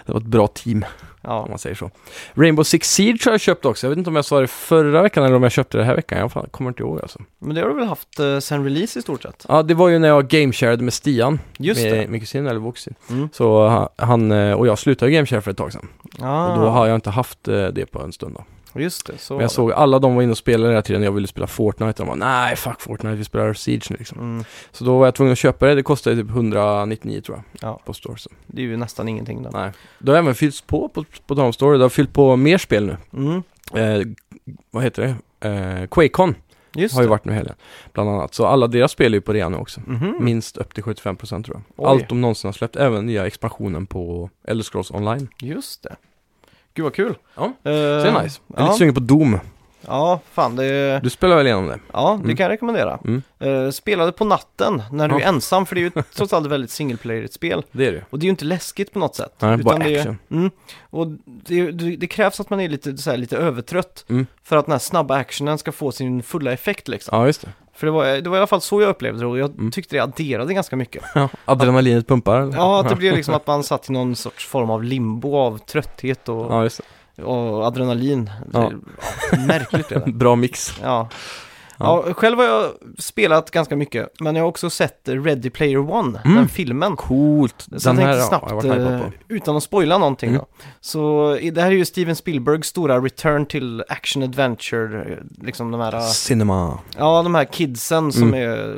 S2: det var ett bra team. om
S1: Ja,
S2: man säger så. Rainbow Six Siege har jag köpt också. Jag vet inte om jag sa det förra veckan eller om jag köpte det här veckan. Jag fan, kommer inte ihåg alltså.
S1: men det har du väl haft eh, sen release i stort sett?
S2: Ja, det var ju när jag gamesharade med Stian.
S1: Just
S2: med
S1: det.
S2: min kusin eller vår kusin.
S1: Mm.
S2: Så ha- han eh, och jag slutade gameshare för ett tag sedan.
S1: Ah,
S2: Och då har jag inte haft eh, det på en stund då.
S1: Just det, så
S2: Men jag
S1: var
S2: såg alla de var inne och spelade hela tiden. Jag ville spela Fortnite. Och de bara, nej fuck Fortnite, vi spelar Siege nu
S1: det.
S2: liksom.
S1: Mm,
S2: Så då var jag tvungen att köpa det. Det kostade typ 199 tror jag.
S1: Ja.
S2: På Store. Så.
S1: det är ju nästan ingenting då.
S2: Nej. Det har även fyllts på på, på de Store. Det har fyllt på mer spel nu.
S1: Mm,
S2: Eh, vad heter det? Eh, Quakecon.
S1: just
S2: har ju
S1: det.
S2: varit nu i helgen, bland annat. Så alla deras spel är ju på rea nu också.
S1: Mhm.
S2: Minst upp till 75% tror jag.
S1: Oj.
S2: Allt de någonsin har släppt, även nya expansionen på Elder Scrolls Online.
S1: Just det. Gud vad kul.
S2: Ja, Så det
S1: Eh,
S2: är nice. Jag är
S1: ja.
S2: lite sugen på Doom.
S1: Ja, fan det...
S2: Du spelar väl igenom det?
S1: Ja, det
S2: Mm.
S1: kan jag rekommendera.
S2: Mm.
S1: Eh, spelade på natten när du
S2: Ja.
S1: är ensam, för det är ju trots allt ett väldigt singleplayerigt spel.
S2: Det är det ju.
S1: Och det är ju inte läskigt på något sätt.
S2: Nej, bara
S1: det, är-
S2: action.
S1: mm, och det, det, det krävs att man är lite, så här, lite övertrött
S2: Mm.
S1: för att den här snabba actionen ska få sin fulla effekt liksom.
S2: Ja, just det.
S1: För det var, det var i alla fall så jag upplevde det och jag
S2: Mm.
S1: tyckte det adderade ganska mycket.
S2: Ja. Adrenalinet pumpar. eller?
S1: Ja, att det blev liksom att man satt i någon sorts form av limbo av trötthet och,
S2: Ja, just
S1: och adrenalin.
S2: Ja.
S1: Ja, märkligt det
S2: det.
S1: där.
S2: Bra mix.
S1: Ja. Ja. själv har jag spelat ganska mycket, men jag har också sett Ready Player One,
S2: Mm.
S1: den filmen.
S2: Coolt.
S1: Så
S2: Den
S1: jag
S2: här
S1: tänkte
S2: har jag
S1: snabbt,
S2: varit hypad
S1: eh,
S2: på.
S1: utan att spoila någonting
S2: Mm.
S1: då. Så i- det här är ju Steven Spielbergs stora return till action adventure, eh, liksom de här, eh,
S2: Cinema.
S1: ja de här kidsen som
S2: Mm.
S1: är,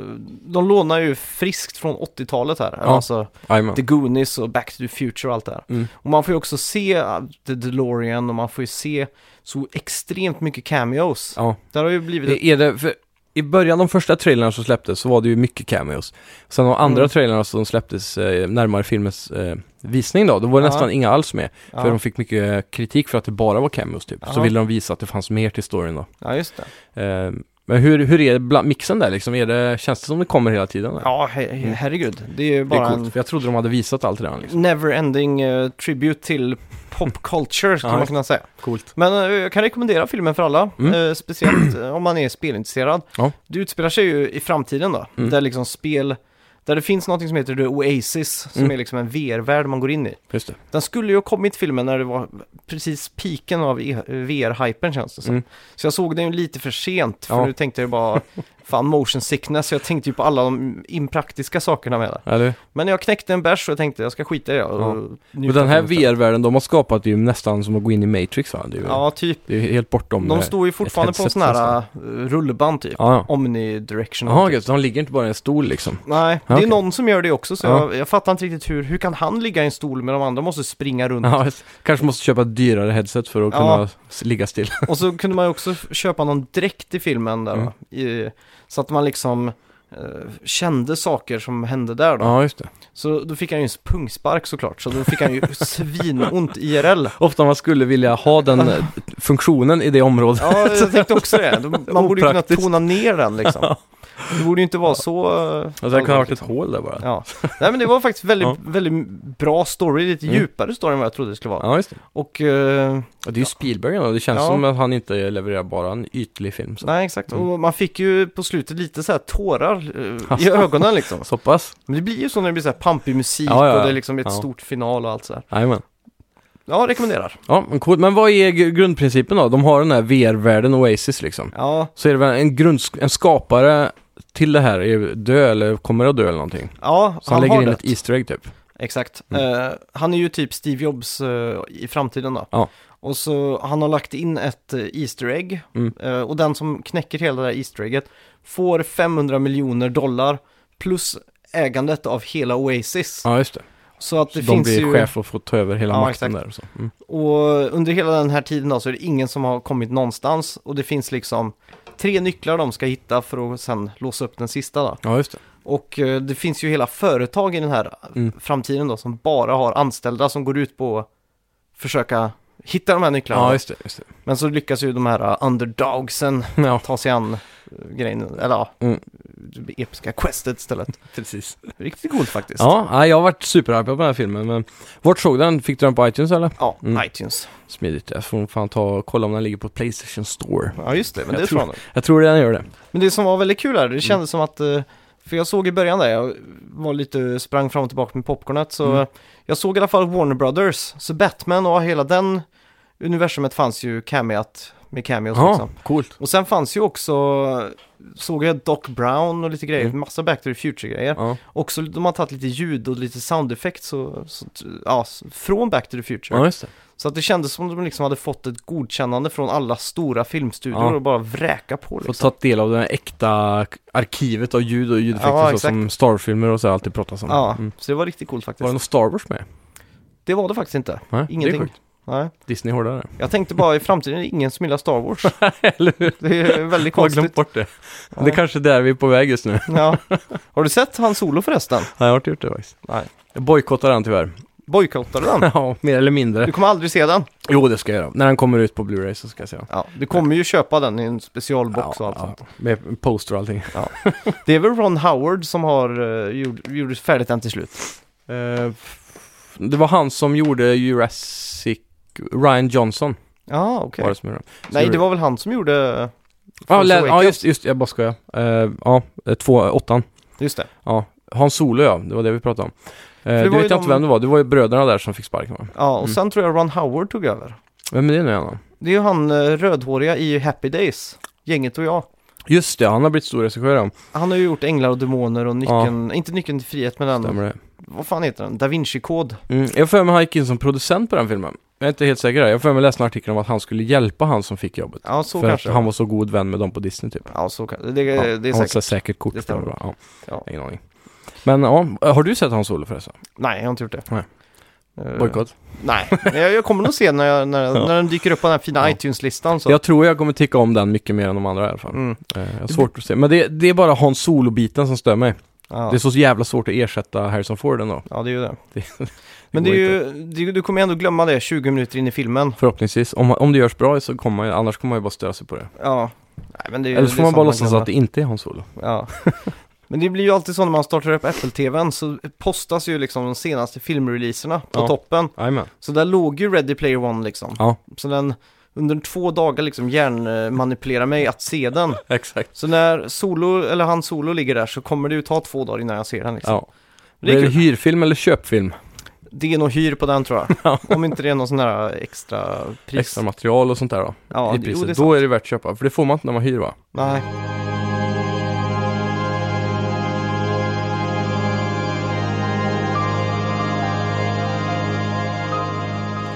S1: de lånar ju friskt från 80-talet här. Alltså
S2: Jajamän.
S1: The Goonies och Back to the Future och allt det här.
S2: Mm.
S1: Och man får ju också se eh, The DeLorean och man får ju se så extremt mycket cameos.
S2: Ja.
S1: Där har ju blivit ett...
S2: Är det, för I början, de första trailerna som släpptes, så var det ju mycket cameos. Sen de andra
S1: Mm.
S2: trailerna som släpptes eh, närmare filmens eh, visning då, då var det
S1: Ja.
S2: nästan inga alls med.
S1: Ja,
S2: För de fick mycket eh, kritik för att det bara var cameos typ. Så
S1: Ja.
S2: ville de visa att det fanns mer till storyn då.
S1: ja just det.
S2: Eh, men hur, hur är bland, mixen där liksom? Är det, känns det som det kommer hela tiden? eller?
S1: Ja, he- he- herregud. Det är ju
S2: Mm. det är
S1: bara
S2: coolt, för jag trodde de hade visat allt redan liksom.
S1: en never-ending eh, tribute till pop culture, skulle
S2: Ja,
S1: man
S2: just
S1: kunna säga.
S2: Coolt.
S1: Men eh, jag kan rekommendera filmen för alla,
S2: Mm.
S1: eh, speciellt eh, om man är spelintresserad.
S2: Ja.
S1: Det utspelar sig ju i framtiden då,
S2: Mm.
S1: där liksom spel, där det finns något som heter The Oasis, som
S2: Mm.
S1: är liksom en VR-värld man går in i.
S2: Just det.
S1: Den skulle ju ha kommit filmen när det var precis piken av e- VR-hypen känns det som.
S2: Mm.
S1: Så jag såg den ju lite för sent, för
S2: Ja.
S1: nu tänkte jag bara, Fan, motion sickness, jag tänkte ju på alla de impraktiska sakerna med det.
S2: Eller?
S1: Men jag knäckte en bärs och jag tänkte jag ska skita i det.
S2: Ja.
S1: Och
S2: Och
S1: njuta
S2: den här
S1: av det.
S2: VR-världen de har skapat är ju nästan som att gå in i Matrix va? Det är ju,
S1: Ja, typ.
S2: det är ju helt bortom
S1: De
S2: eh,
S1: står ju fortfarande
S2: ett
S1: på en sån
S2: headset
S1: här eh, rullband typ.
S2: Ja, ja.
S1: Omnidirectional.
S2: Jaha,
S1: typ.
S2: gött, så de ligger inte bara i en stol liksom.
S1: Nej, det
S2: Ja,
S1: är
S2: okej.
S1: någon som gör det också så
S2: Ja.
S1: jag, jag fattar inte riktigt hur, hur kan han ligga i en stol med de andra måste springa runt?
S2: Ja, just- kanske måste köpa ett dyrare headset för att
S1: Ja.
S2: kunna s- ligga still.
S1: Och så kunde man ju också f- köpa någon dräkt i filmen där
S2: Mm.
S1: då, i, Så att man liksom eh, kände saker som hände där då.
S2: Ja, just det.
S1: Så då fick han ju en pungspark såklart, så då fick han ju svinont IRL.
S2: Ofta man skulle vilja ha den eh, funktionen i det området.
S1: Ja, jag tänkte också det. Då- Man borde ju kunna
S2: Opraktiskt.
S1: tona ner den liksom. Det borde ju inte vara så... eh,
S2: Alltså, det kan ha varit
S1: allvarligt.
S2: ett hål där bara.
S1: Ja, nej men det var faktiskt väldigt,
S2: Ja.
S1: väldigt bra story, lite
S2: Mm.
S1: djupare story än vad jag trodde det skulle vara.
S2: Ja, just det.
S1: Och, eh,
S2: Och det är ju Spielberg och det känns
S1: Ja.
S2: som att han inte levererar bara en ytlig film. Så,
S1: nej exakt,
S2: Mm. Alltså.
S1: och man fick ju på slutet lite så här tårar eh, i ögonen liksom.
S2: så pass?
S1: Men det blir ju så när det blir så här pampig musik
S2: Ja, ja, ja.
S1: och det är liksom ett
S2: Ja.
S1: stort final och allt så här.
S2: Jajamän.
S1: Ja, rekommenderar.
S2: Ja, men coolt. Men vad är gr- grundprincipen då? De har den här VR-världen Oasis liksom.
S1: Ja,
S2: Så är det väl en, grunds- en skapare till det här är dö eller kommer att dö eller någonting.
S1: ja
S2: Så han,
S1: har
S2: lägger in
S1: dött.
S2: ett Mm. Easter egg typ.
S1: Exakt. Eh, han är ju typ Steve Jobs eh, i framtiden då.
S2: Ja.
S1: Och så han har lagt in ett eh, Easter egg.
S2: Mm.
S1: Eh, och den som knäcker hela det här Easter egget får 500 miljoner dollar plus ägandet av hela Oasis.
S2: Ja, just det.
S1: Så att det
S2: de
S1: finns
S2: blir
S1: ju...
S2: chef och får ta över hela
S1: Ja,
S2: makten
S1: exakt.
S2: där och så. Mm.
S1: Och under hela den här tiden då så är det ingen som har kommit någonstans. Och det finns liksom tre nycklar de ska hitta för att sen låsa upp den sista då.
S2: Ja, just det.
S1: Och eh, det finns ju hela företag i den här
S2: Mm.
S1: framtiden då som bara har anställda som går ut på att försöka hitta de här nycklarna.
S2: Ja, just det. Just det.
S1: Men så lyckas ju de här eh, underdogsen
S2: Ja,
S1: ta sig an eh, grejen, eller ja,
S2: Mm.
S1: det episka questet istället.
S2: precis.
S1: Riktigt coolt faktiskt.
S2: Ja, nej, jag har varit superhypad på den här filmen. Men vart såg den? Fick du den på iTunes eller?
S1: Ja,
S2: Mm.
S1: iTunes.
S2: Smidigt. Jag får fan ta och kolla om den ligger på Playstation Store.
S1: Ja, just det, men
S2: Jag
S1: det
S2: tror-
S1: tror jag nog.
S2: Jag tror den gör det.
S1: Men det som var väldigt kul här,
S2: Mm.
S1: det kändes som att, eh, för jag såg i början där, jag var lite, sprang fram och tillbaka med popcornet, så
S2: Mm.
S1: eh, jag såg i alla fall Warner Brothers, så Batman och hela den universumet fanns ju cameat, med cameos
S2: Ja,
S1: liksom.
S2: coolt.
S1: Och sen fanns ju också, såg jag Doc Brown och lite grejer, massa Back to the Future-grejer.
S2: Mm. Ja.
S1: Också, de har tagit lite ljud och lite soundeffekt så, så, ja, s- från Back to the Future.
S2: ja, just det.
S1: Så att det kändes som att de liksom hade fått ett godkännande från alla stora filmstudior
S2: Ja.
S1: och bara vräka på liksom.
S2: Få ta del av det här äkta k- arkivet av ljud och ljudeffekter
S1: Ja,
S2: så
S1: exakt.
S2: som Star-filmer och så här alltid pratas om.
S1: Ja,
S2: Mm.
S1: så det var riktigt coolt faktiskt.
S2: Var det någon Star Wars med?
S1: Det var det faktiskt inte.
S2: Nej,
S1: Ingenting.
S2: Det är sjukt.
S1: Nej.
S2: Disney är hårdare.
S1: Jag tänkte bara i framtiden är det ingen som gillar Star Wars.
S2: Eller hur?
S1: Det är väldigt
S2: Jag har
S1: konstigt.
S2: glömt bort det. Det är kanske är där vi är på väg just nu. Nej,
S1: Ja. Har du sett han solo förresten?
S2: jag har inte gjort det faktiskt.
S1: Nej.
S2: Jag bojkottar den tyvärr.
S1: Bojkottar du den?
S2: ja, mer eller mindre.
S1: Du kommer aldrig se den.
S2: Jo, det ska jag göra. När den kommer ut på Blu-ray så ska jag se den.
S1: Ja, du kommer ju köpa den i en specialbox och allt sånt.
S2: ja, Med poster och allting.
S1: Det är väl Ron Howard som har uh, gjort, gjort färdigt den till slut.
S2: Eh, f- det var han som gjorde Jurassic... Ryan Johnson
S1: Ja, okej.
S2: var det som gjorde den.
S1: Nej, det var väl han som gjorde...
S2: Ja,
S1: Force
S2: lä- ja
S1: Awakens.
S2: just, just jag bara skojar. Eh, ja, eh, två, åttan.
S1: Just det.
S2: Ja, Hans Solo ja, det var det vi pratade om. Eh,
S1: det
S2: det
S1: var
S2: vet
S1: ju
S2: jag inte
S1: de-
S2: vem det var, det var ju bröderna där som fick sparken va?
S1: Ja, och sen tror jag Ron Howard tog över.
S2: Vem är det nu igen då?
S1: Det är ju han eh, rödhåriga i Happy Days, gänget och jag.
S2: Just det, han har blivit stor regissör ja.
S1: Han har ju gjort Änglar och Demoner och Nyckeln, inte Nyckeln till Frihet men den,
S2: Stämmer det.
S1: vad fan heter den? Da Vinci-kod.
S2: Mm, jag har för mig han gick in som producent på den filmen. Jag är inte helt säker där. Jag har för mig läste en artikel om att han skulle hjälpa han som fick jobbet.
S1: Ja, så
S2: för
S1: kanske.
S2: att han var så god vän med dem på Disney typ.
S1: Ja, så kan... det,
S2: Ja,
S1: det är
S2: han
S1: säkert.
S2: säkert. säkert kort
S1: Det
S2: för det
S1: stämmer.
S2: bra. Ja,
S1: Ja.
S2: Ingen aning. Men ja, har du sett Hans Solo förresten?
S1: Nej, jag har inte gjort det.
S2: Nej.
S1: Eh,
S2: Bojkott?
S1: nej, Men jag, jag kommer nog se när, jag, när,
S2: Ja.
S1: när den dyker upp på den här fina
S2: Ja.
S1: iTunes-listan. Så.
S2: Jag tror jag kommer tycka om den mycket mer än de andra i alla fall.
S1: Mm.
S2: Eh, jag har svårt att se. Men det, det är bara Hans Solo-biten som stör mig.
S1: Ja.
S2: Det är så jävla svårt att ersätta Harrison Ford ändå.
S1: ja, det är ju det.
S2: Det-
S1: Men det
S2: går
S1: är ju, det, du kommer ju ändå glömma det 20 minuter in i filmen.
S2: Förhoppningsvis. Om, om det görs bra så kommer man ju, annars kommer man ju bara störa sig på det.
S1: Ja. Nej, men det är ju,
S2: Eller
S1: det
S2: så
S1: är
S2: får man
S1: sånt
S2: bara låtsas
S1: glömmer.
S2: att det inte är Hans Solo.
S1: Ja. Men det blir ju alltid så när man startar upp Apple-TVn så postas ju liksom de senaste filmreleaserna på
S2: Ja.
S1: toppen.
S2: Jajamän.
S1: Så där låg ju Ready Player One liksom.
S2: Ja.
S1: Så den under två dagar liksom hjärnmanipulerar mig att se den.
S2: Exakt.
S1: Så när solo, eller han solo ligger där så kommer det ju ta två dagar innan jag ser den liksom.
S2: Ja.
S1: Det är
S2: Det är det
S1: kul.
S2: hyrfilm eller köpfilm?
S1: Det är nog hyr på den tror jag. Om inte det är någon sån här extra pris.
S2: Extra material och sånt där då?
S1: Ja,
S2: I
S1: det- jo,
S2: priset.
S1: det är
S2: då är det värt att köpa, för det får man inte när man hyr va?
S1: Nej.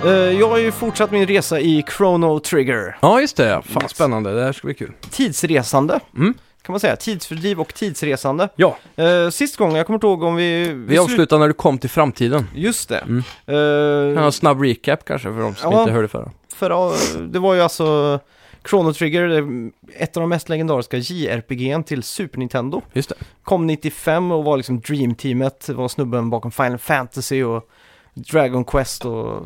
S1: Eh, jag har ju fortsatt min resa i Chrono Trigger.
S2: Ja, just det. Fan, spännande. Det här ska bli kul.
S1: Tidsresande,
S2: Mm.
S1: kan man säga. Tidsfördriv och tidsresande.
S2: Ja,
S1: Eh, sist gången, jag kommer inte ihåg om vi...
S2: vi avslutar när du kom till framtiden.
S1: Just det.
S2: Mm.
S1: Eh,
S2: Kan ha en snabb recap kanske för de som
S1: Ja.
S2: inte hörde förra.
S1: förra, det var ju alltså Chrono Trigger, det- ett av de mest legendariska JRPG'n till Super Nintendo.
S2: Just det.
S1: Kom 95 och var liksom Dream-teamet, var snubben bakom Final Fantasy och Dragon Quest och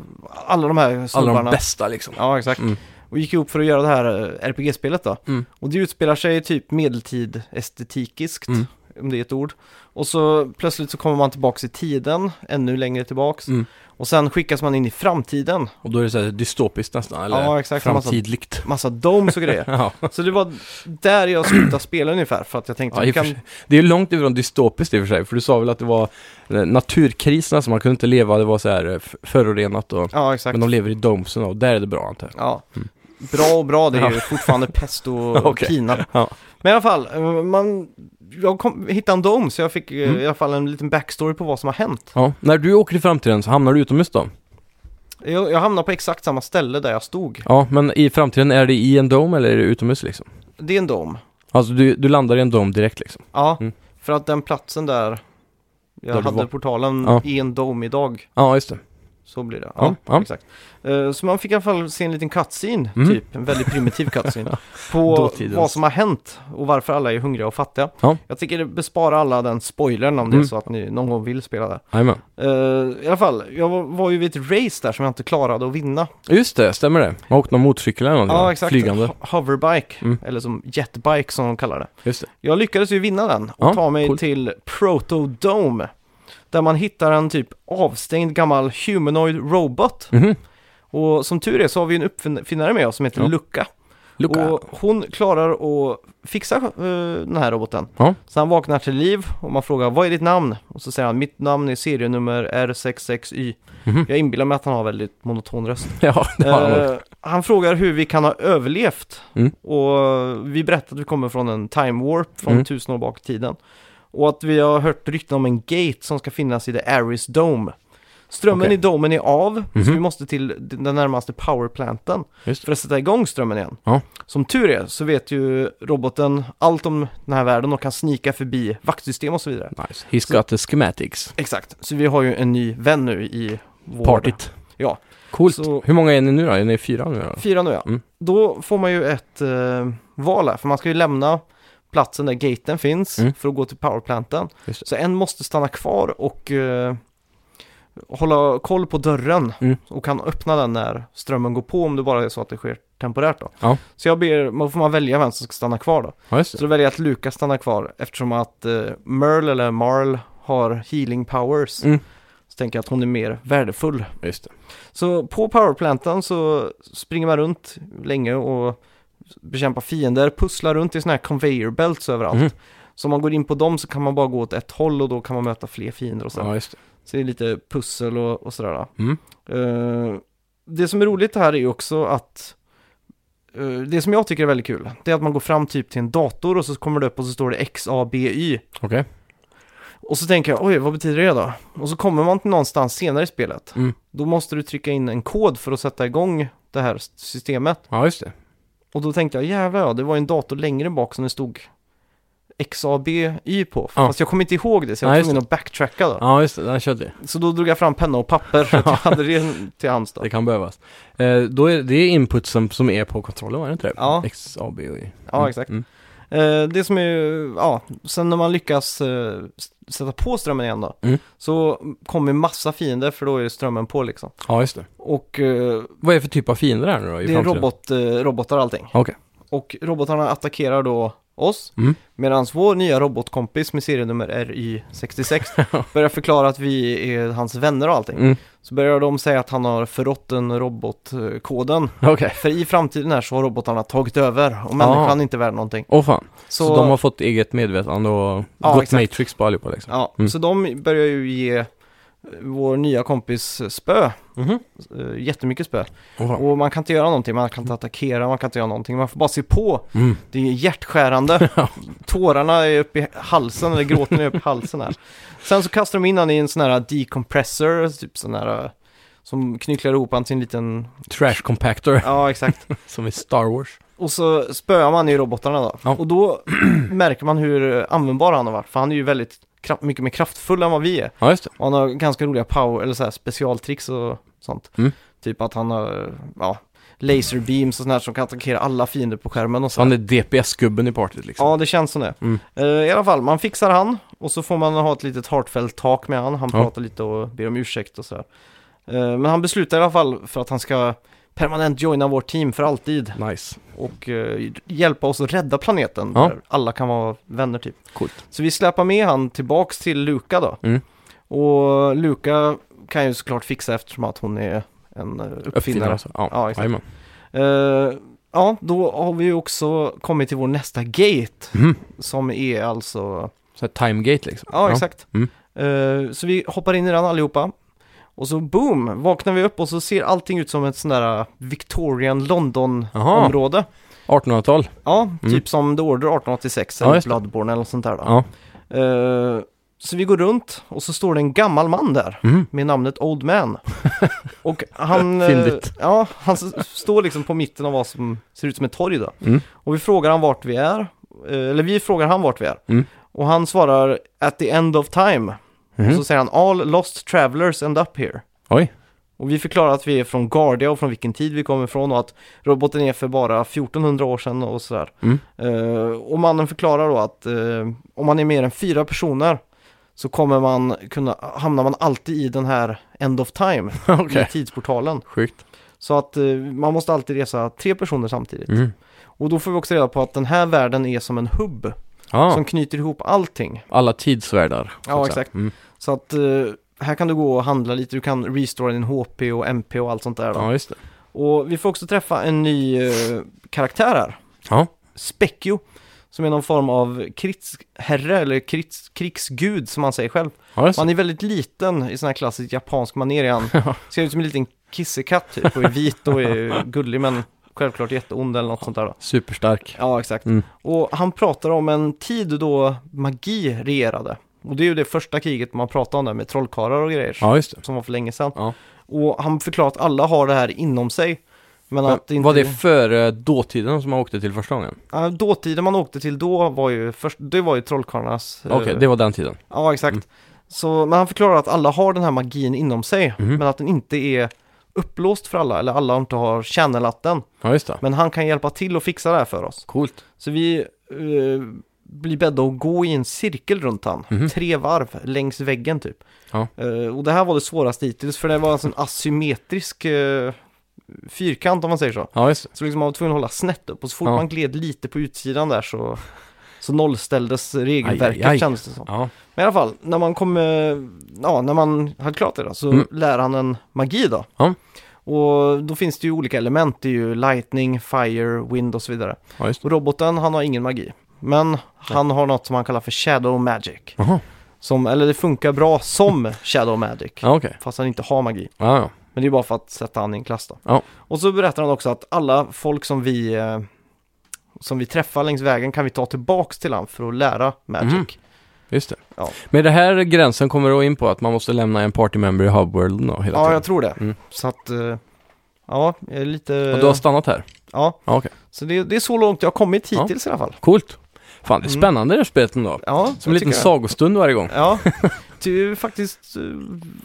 S1: alla de här snubbarna.
S2: Alla de bästa liksom.
S1: Ja, exakt.
S2: Mm.
S1: Och gick ihop för att göra det här eh, RPG-spelet då.
S2: Mm.
S1: Och det utspelar sig i typ medeltid estetikiskt,
S2: Mm.
S1: om det är ett ord. Och så plötsligt så kommer man tillbaks i tiden, ännu längre tillbaks.
S2: Mm.
S1: Och sen skickas man in i framtiden,
S2: Och då är det så här dystopiskt nästan, eller
S1: Ja, exakt.
S2: framtidligt.
S1: massa domes och grejer.
S2: Ja.
S1: Så det var där jag slutade spela ungefär, för att jag tänkte
S2: Ja, i
S1: vi
S2: och för
S1: kan...
S2: sig. Det är långt ifrån dystopiskt i och för sig, för du sa väl att det var eh, naturkriserna som man kunde inte leva, det var så här eh, f- förorenat och...
S1: Ja, exakt.
S2: Men de lever i domesen och där är det bra antar jag.
S1: Ja. Bra och bra, det är ju fortfarande pest och
S2: Okej.
S1: pina.
S2: Ja.
S1: Men i alla fall, eh, man... jag kom... hittade en dom, så jag fick eh,
S2: Mm.
S1: i alla fall en liten backstory på vad som har hänt.
S2: Ja, när du åker i framtiden så hamnar du utomhus då?
S1: Jag, jag hamnade på exakt samma ställe där jag stod.
S2: Ja, men i framtiden är det i en dom eller är det utomhus liksom?
S1: Det är en dom.
S2: Alltså du, du landar i en dom direkt liksom?
S1: Ja,
S2: Mm.
S1: för att den platsen där jag
S2: Där du
S1: hade
S2: var.
S1: portalen
S2: Ja.
S1: i en dom idag.
S2: Ja, just det.
S1: Så blir det.
S2: Ja,
S1: Ja,
S2: ja.
S1: exakt. Eh, Så man fick i alla fall se en liten cutscene,
S2: Mm.
S1: typ. En väldigt primitiv cutscene. på
S2: Dåtidens.
S1: vad som har hänt och varför alla är hungriga och fattiga.
S2: Ja.
S1: Jag tänker bespara alla den spoilern om det
S2: Mm.
S1: är så att ni någon gång vill spela där.
S2: Jajamän.
S1: Eh, I alla fall, jag var, var ju vid ett race där som jag inte klarade att vinna.
S2: Just det, stämmer det? Man har åkt någon motorcykel eller någonting? va? Flygande.
S1: Ho- Hoverbike,
S2: Mm.
S1: eller som jetbike som de kallar det.
S2: Just det.
S1: Jag lyckades ju vinna den och
S2: Ja,
S1: ta mig
S2: coolt.
S1: till Protodome. Där man hittar en typ avstängd gammal humanoid robot.
S2: Mhm.
S1: Och som tur är så har vi en uppfinnare med oss som heter
S2: Ja.
S1: Luca.
S2: Luca.
S1: Och hon klarar att fixa eh, den här roboten.
S2: Ja.
S1: Så han vaknar till liv och man frågar vad är ditt namn? Och så säger han mitt namn är serienummer R66Y.
S2: Mhm.
S1: Jag inbillar mig att han har väldigt monoton röst.
S2: Ja, det har han också.
S1: Eh, han frågar hur vi kan ha överlevt.
S2: Mm.
S1: Och vi berättar att vi kommer från en time warp från
S2: Mm.
S1: tusen år bak i tiden. Och att vi har hört rykten om en gate som ska finnas i The Aris Dome. Strömmen
S2: Okej.
S1: i domen är av, så
S2: Mhm.
S1: vi måste till den närmaste powerplanten
S2: Just det.
S1: för att sätta igång strömmen igen.
S2: Ja.
S1: Som tur är så vet ju roboten allt om den här världen och kan snika förbi vaktsystem och så vidare.
S2: Nice. He's got the schematics.
S1: Exakt, så vi har ju en ny vän nu i vår...
S2: Partyt.
S1: Ja.
S2: Coolt.
S1: Så-
S2: Hur många är ni nu då? Är ni fyra nu då?
S1: Fyra nu ja.
S2: Mm.
S1: Då får man ju ett eh, val här, för man ska ju lämna platsen där gaten finns
S2: Mm.
S1: för att gå till powerplanten.
S2: Just det.
S1: Så en måste stanna kvar och eh, hålla koll på dörren
S2: Mm.
S1: och kan öppna den när strömmen går på om det bara är så att det sker temporärt då.
S2: Ja.
S1: Så jag ber, då får man välja vem som ska stanna kvar då.
S2: Ja, just
S1: Så
S2: det.
S1: då väljer jag att Lukas stannar kvar eftersom att eh, Merl eller Marl har healing powers.
S2: Mm.
S1: Så tänker jag att hon är mer värdefull.
S2: Just det.
S1: Så på powerplanten så springer man runt länge och bekämpar fiender, pusslar runt i sådana här conveyor belts överallt.
S2: Mhm.
S1: Så om man går in på dem så kan man bara gå åt ett håll och då kan man möta fler fiender och så.
S2: Ja, just det.
S1: Så det är lite pussel och, och sådär. då.
S2: Mm.
S1: Eh, det som är roligt här är ju också att eh, det som jag tycker är väldigt kul, det är att man går fram typ till en dator och så kommer det upp och så står det XABY.
S2: Okej.
S1: Och så tänker jag, oj vad betyder det då? Och så kommer man till någonstans senare i spelet.
S2: Mm.
S1: Då måste du trycka in en kod för att sätta igång det här s- systemet.
S2: Ja, just det.
S1: Och då tänkte jag, jävlar ja, det var ju en dator längre bak som det stod XABY på.
S2: Ja.
S1: Fast jag kommer inte ihåg det, så jag
S2: Nej,
S1: var
S2: just
S1: tvungen att backtracka då.
S2: Ja, just det. Den körde vi.
S1: Så då drog jag fram penna och papper, så att jag hade det till hands då.
S2: Det kan behövas. Eh, då är det är input som, som är på kontrollen, var det inte det?
S1: Ja.
S2: X, A, B och I.
S1: Ja, exakt.
S2: Mm.
S1: Eh, det som är, ju- ja, sen när man lyckas eh, s- sätta på strömmen igen då,
S2: Mm.
S1: så kommer massa fiender för då är strömmen på liksom.
S2: Ja, just det.
S1: Och eh,
S2: Vad är det för typ av fiender här nu då? I
S1: det är
S2: framtiden?
S1: robot, eh, robotar allting.
S2: Okej.
S1: Och robotarna attackerar då oss,
S2: Mm.
S1: medan vår nya robotkompis med serienummer RY66 börjar förklara att vi är hans vänner och allting.
S2: Mm.
S1: Så börjar de säga att han har förrått den robotkoden.
S2: Okej.
S1: För i framtiden här så har robotarna tagit över och människan är inte värd någonting.
S2: Åh fan.
S1: Så,
S2: Ah. Så... de har fått eget medvetande och
S1: Ja,
S2: gått
S1: exakt.
S2: Matrix på allihopa liksom?
S1: ja,
S2: Mm.
S1: så de börjar ju ge eh, vår nya kompis spö,
S2: Mhm.
S1: eh, jättemycket spö.
S2: Åh fan.
S1: Och man kan inte göra någonting, man kan inte attackera, man kan inte göra någonting, man får bara se på.
S2: Mm.
S1: Det är hjärtskärande.
S2: Ja.
S1: Tårarna är uppe i halsen, eller gråten är uppe i halsen här. Sen så kastar de in han i en sån här decompressor, typ sån här eh, Som knycklar ihop han till en liten,
S2: Trash compactor,
S1: ja exakt.
S2: som i Star Wars.
S1: Och så spöar man ju robotarna då.
S2: Ja.
S1: Och då märker man hur eh, användbar han har varit. För han är ju väldigt, kraft, mycket mer kraftfull än vad vi är.
S2: Ja, just det.
S1: Och han har ganska roliga power, eller så här specialtricks och sånt.
S2: Mm.
S1: Typ att han har, ja, laserbeams och sånt här som kan attackera alla fiender på skärmen och så.
S2: Så han är DPS-gubben i partiet liksom.
S1: Ja, det känns som det.
S2: Mm.
S1: Eh, I alla fall, man fixar han och så får man ha ett litet heartfelt tak med han. Han
S2: Ja.
S1: pratar lite och ber om ursäkt och sådär. Eh, Men han beslutar i alla fall för att han ska permanent joina vårt team för alltid
S2: Nice.
S1: och eh, hjälpa oss att rädda planeten.
S2: Ja.
S1: Där alla kan vara vänner typ.
S2: Coolt.
S1: Så vi släpar med han tillbaks till Luka då.
S2: Mm.
S1: Och Luka kan ju såklart fixa eftersom att hon är en eh, uppfinnare.
S2: alltså. Ja,
S1: Ja,
S2: ja
S1: exakt.
S2: exakt.
S1: Eh, ja, då har vi ju också kommit till vår nästa gate.
S2: Mm.
S1: Som är alltså...
S2: Så här timegate liksom.
S1: Ja, exakt.
S2: Mm.
S1: Eh, så vi hoppar in i den allihopa. Och så boom, vaknar vi upp och så ser allting ut som ett sån där eh, Victorian
S2: Aha.
S1: London-område.
S2: 1800-tal.
S1: Ja,
S2: Mm.
S1: typ som The Order 1886
S2: Ja,
S1: eller
S2: just det.
S1: Bloodborne eller något sånt där då.
S2: Ja.
S1: Eh, så vi går runt och så står det en gammal man där
S2: Mm.
S1: med namnet Old Man. och han... eh,
S2: Fyndigt.
S1: ja, han s- står liksom på mitten av vad som ser ut som ett torg då.
S2: Mm.
S1: Och vi frågar han vart vi är. eh, Eller vi frågar han vart vi är.
S2: Mm.
S1: Och han svarar at the end of time.
S2: Mhm.
S1: Och så säger han all lost travelers end up here.
S2: Oj.
S1: Och vi förklarar att vi är från Guardia och från vilken tid vi kommer ifrån och att roboten är för bara 1400 år sedan och sådär.
S2: Mm.
S1: Eh, och mannen förklarar då att eh, om man är mer än fyra personer så kommer man kunna, hamnar man alltid i den här end of time,
S2: Okej.
S1: i tidsportalen.
S2: Mm, Sjukt.
S1: Så att eh, man måste alltid resa tre personer samtidigt.
S2: Mm.
S1: Och då får vi också reda på att den här världen är som en hubb
S2: Ja,
S1: som knyter ihop allting.
S2: alla tidsvärdar. så att
S1: Ja,
S2: säga.
S1: exakt.
S2: Mm.
S1: Så att eh, här kan du gå och handla lite, du kan restora din HP och MP och allt sånt där. Då.
S2: Ja, just det.
S1: Och vi får också träffa en ny eh, karaktär här,
S2: Ja.
S1: Specchio, som är någon form av krigsherre eller krigs, krigsgud som han säger själv.
S2: Ja, just det.
S1: Han är väldigt liten i sån här klassisk japansk manér är han. Ser ut som en liten kissekatt typ och är vit och är gullig men självklart jätteond eller något sånt där då.
S2: Superstark.
S1: Ja, exakt.
S2: Mm.
S1: Och han pratar om en tid då magi regerade. Och det är ju det första kriget man pratar om där med trollkarlar och grejer.
S2: Ja, just det.
S1: Som var för länge sedan.
S2: Ja.
S1: Och han förklarar att alla har det här inom sig. Men, att det
S2: Men,
S1: inte...
S2: var det före dåtiden som man åkte till första gången?
S1: Ja, dåtiden man åkte till då var ju först, det var ju trollkarlarnas... eh,
S2: Okej, det Mm. var den tiden.
S1: Ja, exakt. Så, men han förklarar att alla har den här magin inom sig,
S2: Mhm.
S1: men att den inte är upplåst för alla, eller alla inte har channelat den.
S2: Ja, just det.
S1: Men han kan hjälpa till och fixa det här för oss.
S2: Coolt.
S1: Så vi eh, blir bedda att gå i en cirkel runt han.
S2: Mhm.
S1: Tre varv längs väggen typ.
S2: Ja.
S1: Eh, och det här var det svåraste hittills för det var alltså en asymmetrisk eh, fyrkant om man säger så.
S2: Ja, just det.
S1: Så liksom man var tvungen att hålla snett upp och så fort
S2: Ja.
S1: man gled lite på utsidan där så, så nollställdes regelverket
S2: Aj, aj, aj.
S1: kändes det som.
S2: Ja.
S1: Men i alla fall, när man kom, eh, ja, när man hade klart det då, så
S2: Mm.
S1: lär han en magi då.
S2: Ja.
S1: Och då finns det ju olika element, det är ju lightning, fire, wind och så vidare.
S2: ja, just det.
S1: Och roboten, han har ingen magi. Men han har något som han kallar för shadow magic.
S2: Jaha.
S1: Som, eller det funkar bra som shadow magic.
S2: Ja, okej.
S1: Fast han inte har magi.
S2: Ja, ja.
S1: Men det är bara för att sätta han i en klass då.
S2: Ja.
S1: Och så berättar han också att alla folk som vi, eh, som vi träffar längs vägen kan vi ta tillbaks till han för att lära magic.
S2: Mhm. Just det.
S1: Ja.
S2: Men det här gränsen kommer då in på att man måste lämna en partymember i hubworlden då hela
S1: Ja,
S2: tiden.
S1: jag tror det.
S2: Mm.
S1: Så att, eh, ja, jag är lite...
S2: Och du har stannat här?
S1: Ja,
S2: Ja, okej.
S1: så det, det är så långt jag har kommit hittills i alla fall.
S2: Coolt. Fan, det är
S1: Mm.
S2: spännande det här spelet ändå.
S1: Ja,
S2: Som en
S1: jag
S2: liten
S1: tycker det.
S2: sagostund varje gång.
S1: Ja, du är faktiskt eh,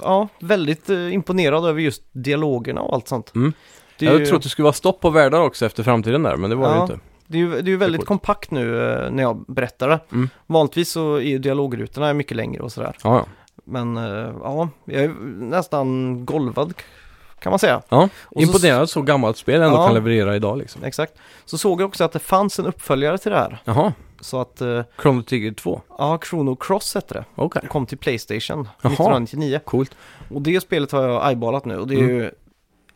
S1: ja, väldigt eh, imponerad över just dialogerna och allt sånt.
S2: Mm.
S1: Det, är
S2: jag
S1: ju,
S2: trodde att det skulle vara stopp på världar också efter framtiden där, men det var det
S1: Ja.
S2: ju inte.
S1: det, är ju, det är ju väldigt
S2: coolt.
S1: kompakt nu eh, när jag berättar det.
S2: Mm.
S1: Vanligtvis så är ju dialogrutorna mycket längre och sådär.
S2: Ja, ja.
S1: Men eh, ja, jag är nästan golvad k- kan man säga.
S2: ja.
S1: så-
S2: Imponerande att så gammalt spel ändå
S1: Ja.
S2: kan leverera idag liksom.
S1: Exakt. Så såg jag också att det fanns en uppföljare till det här.
S2: Jaha,
S1: Så att, eh,
S2: Chrono Trigger 2.
S1: ja, Chrono Cross hette det.
S2: Okej.
S1: Kom till Playstation
S2: Jaha.
S1: 1999.
S2: Coolt.
S1: Och det spelet har jag eyeballat nu och det är
S2: Mm.
S1: ju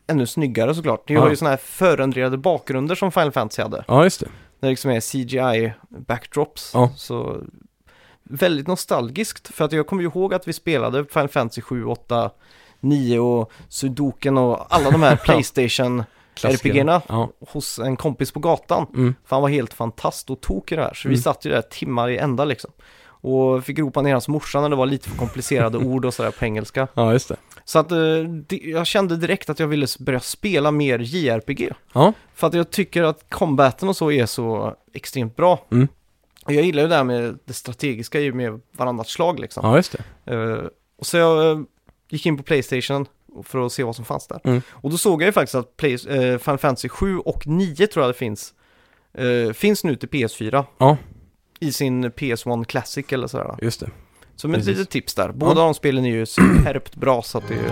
S1: ännu snyggare såklart. Det
S2: Ja.
S1: har ju sådana här förrenderade bakgrunder som Final Fantasy hade.
S2: Ja, just det.
S1: När det liksom är CGI-backdrops.
S2: Ja.
S1: Så väldigt nostalgiskt. För att jag kommer ju ihåg att vi spelade Final Fantasy 7, 8, 9 och Sudoken och alla de här Playstation-RPG-erna
S2: Klassiker. Ja.
S1: hos en kompis på gatan.
S2: Mm.
S1: För han var helt fantast och tog i det här. Så vi
S2: Mm.
S1: satt ju där timmar i ända liksom. Och fick ropa ner hans morsa när det var lite för komplicerade ord och sådär på engelska.
S2: ja, just det.
S1: Så att eh, det- jag kände direkt att jag ville s- börja spela mer JRPG.
S2: Ja,
S1: För att jag tycker att combaten och så är så extremt bra.
S2: Mm.
S1: Och jag gillar ju det här med det strategiska ju med varannat slag liksom.
S2: ja just det.
S1: Eh, och så jag eh, gick in på Playstation för att se vad som fanns där.
S2: Mm.
S1: Och då såg jag ju faktiskt att Play, eh, Final Fantasy 7 och 9 tror jag det finns. eh, finns nu till PS4.
S2: Ja.
S1: I sin PS1 Classic eller sådär.
S2: Just det.
S1: Som ett
S2: Precis.
S1: litet tips där. Båda de spelen är ju superbt bra så att det är ju...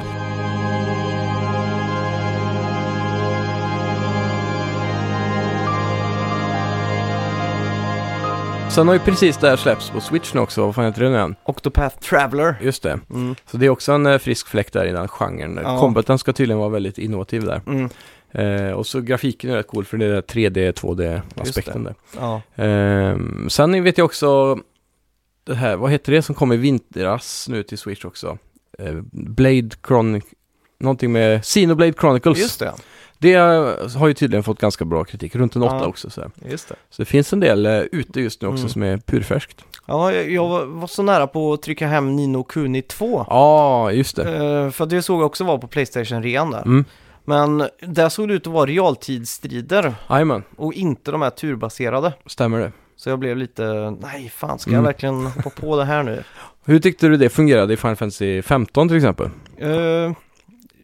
S2: Sen har ju precis det här släppts på Switch nu också, vad fan heter det nu än?
S1: Octopath Traveler.
S2: Just det.
S1: Mm.
S2: Så det är också en eh, frisk fläkt där i den genren.
S1: Ja.
S2: Combaten ska tydligen vara väldigt innovativ där.
S1: Mm.
S2: Eh, och så grafiken är rätt cool för det är 3D, 2D-aspekten där.
S1: Ja.
S2: Ehm, sen vet jag också det här, vad heter det som kom i vintras nu till Switch också? Eh, Blade Chronicle, någonting med Xenoblade Chronicles.
S1: Just det.
S2: Det eh, har ju tydligen fått ganska bra kritik, runt en åtta
S1: Ja.
S2: också. Så, här.
S1: Just det.
S2: så det finns en del eh, ute just nu också
S1: Mm.
S2: som är purfärskt.
S1: Ja, jag, jag var- var så nära på att trycka hem Nino Kuni 2.
S2: Ja, just det.
S1: Eh, för det såg jag också var på Playstation-rean där.
S2: Mm.
S1: Men där såg det ut att vara realtidsstrider
S2: Jajamän,
S1: och inte de här turbaserade.
S2: stämmer det.
S1: Så jag blev lite, nej fan, ska jag
S2: Mm.
S1: verkligen hoppa på det här nu?
S2: Hur tyckte du det fungerade i Final Fantasy 15 till exempel?
S1: Eh,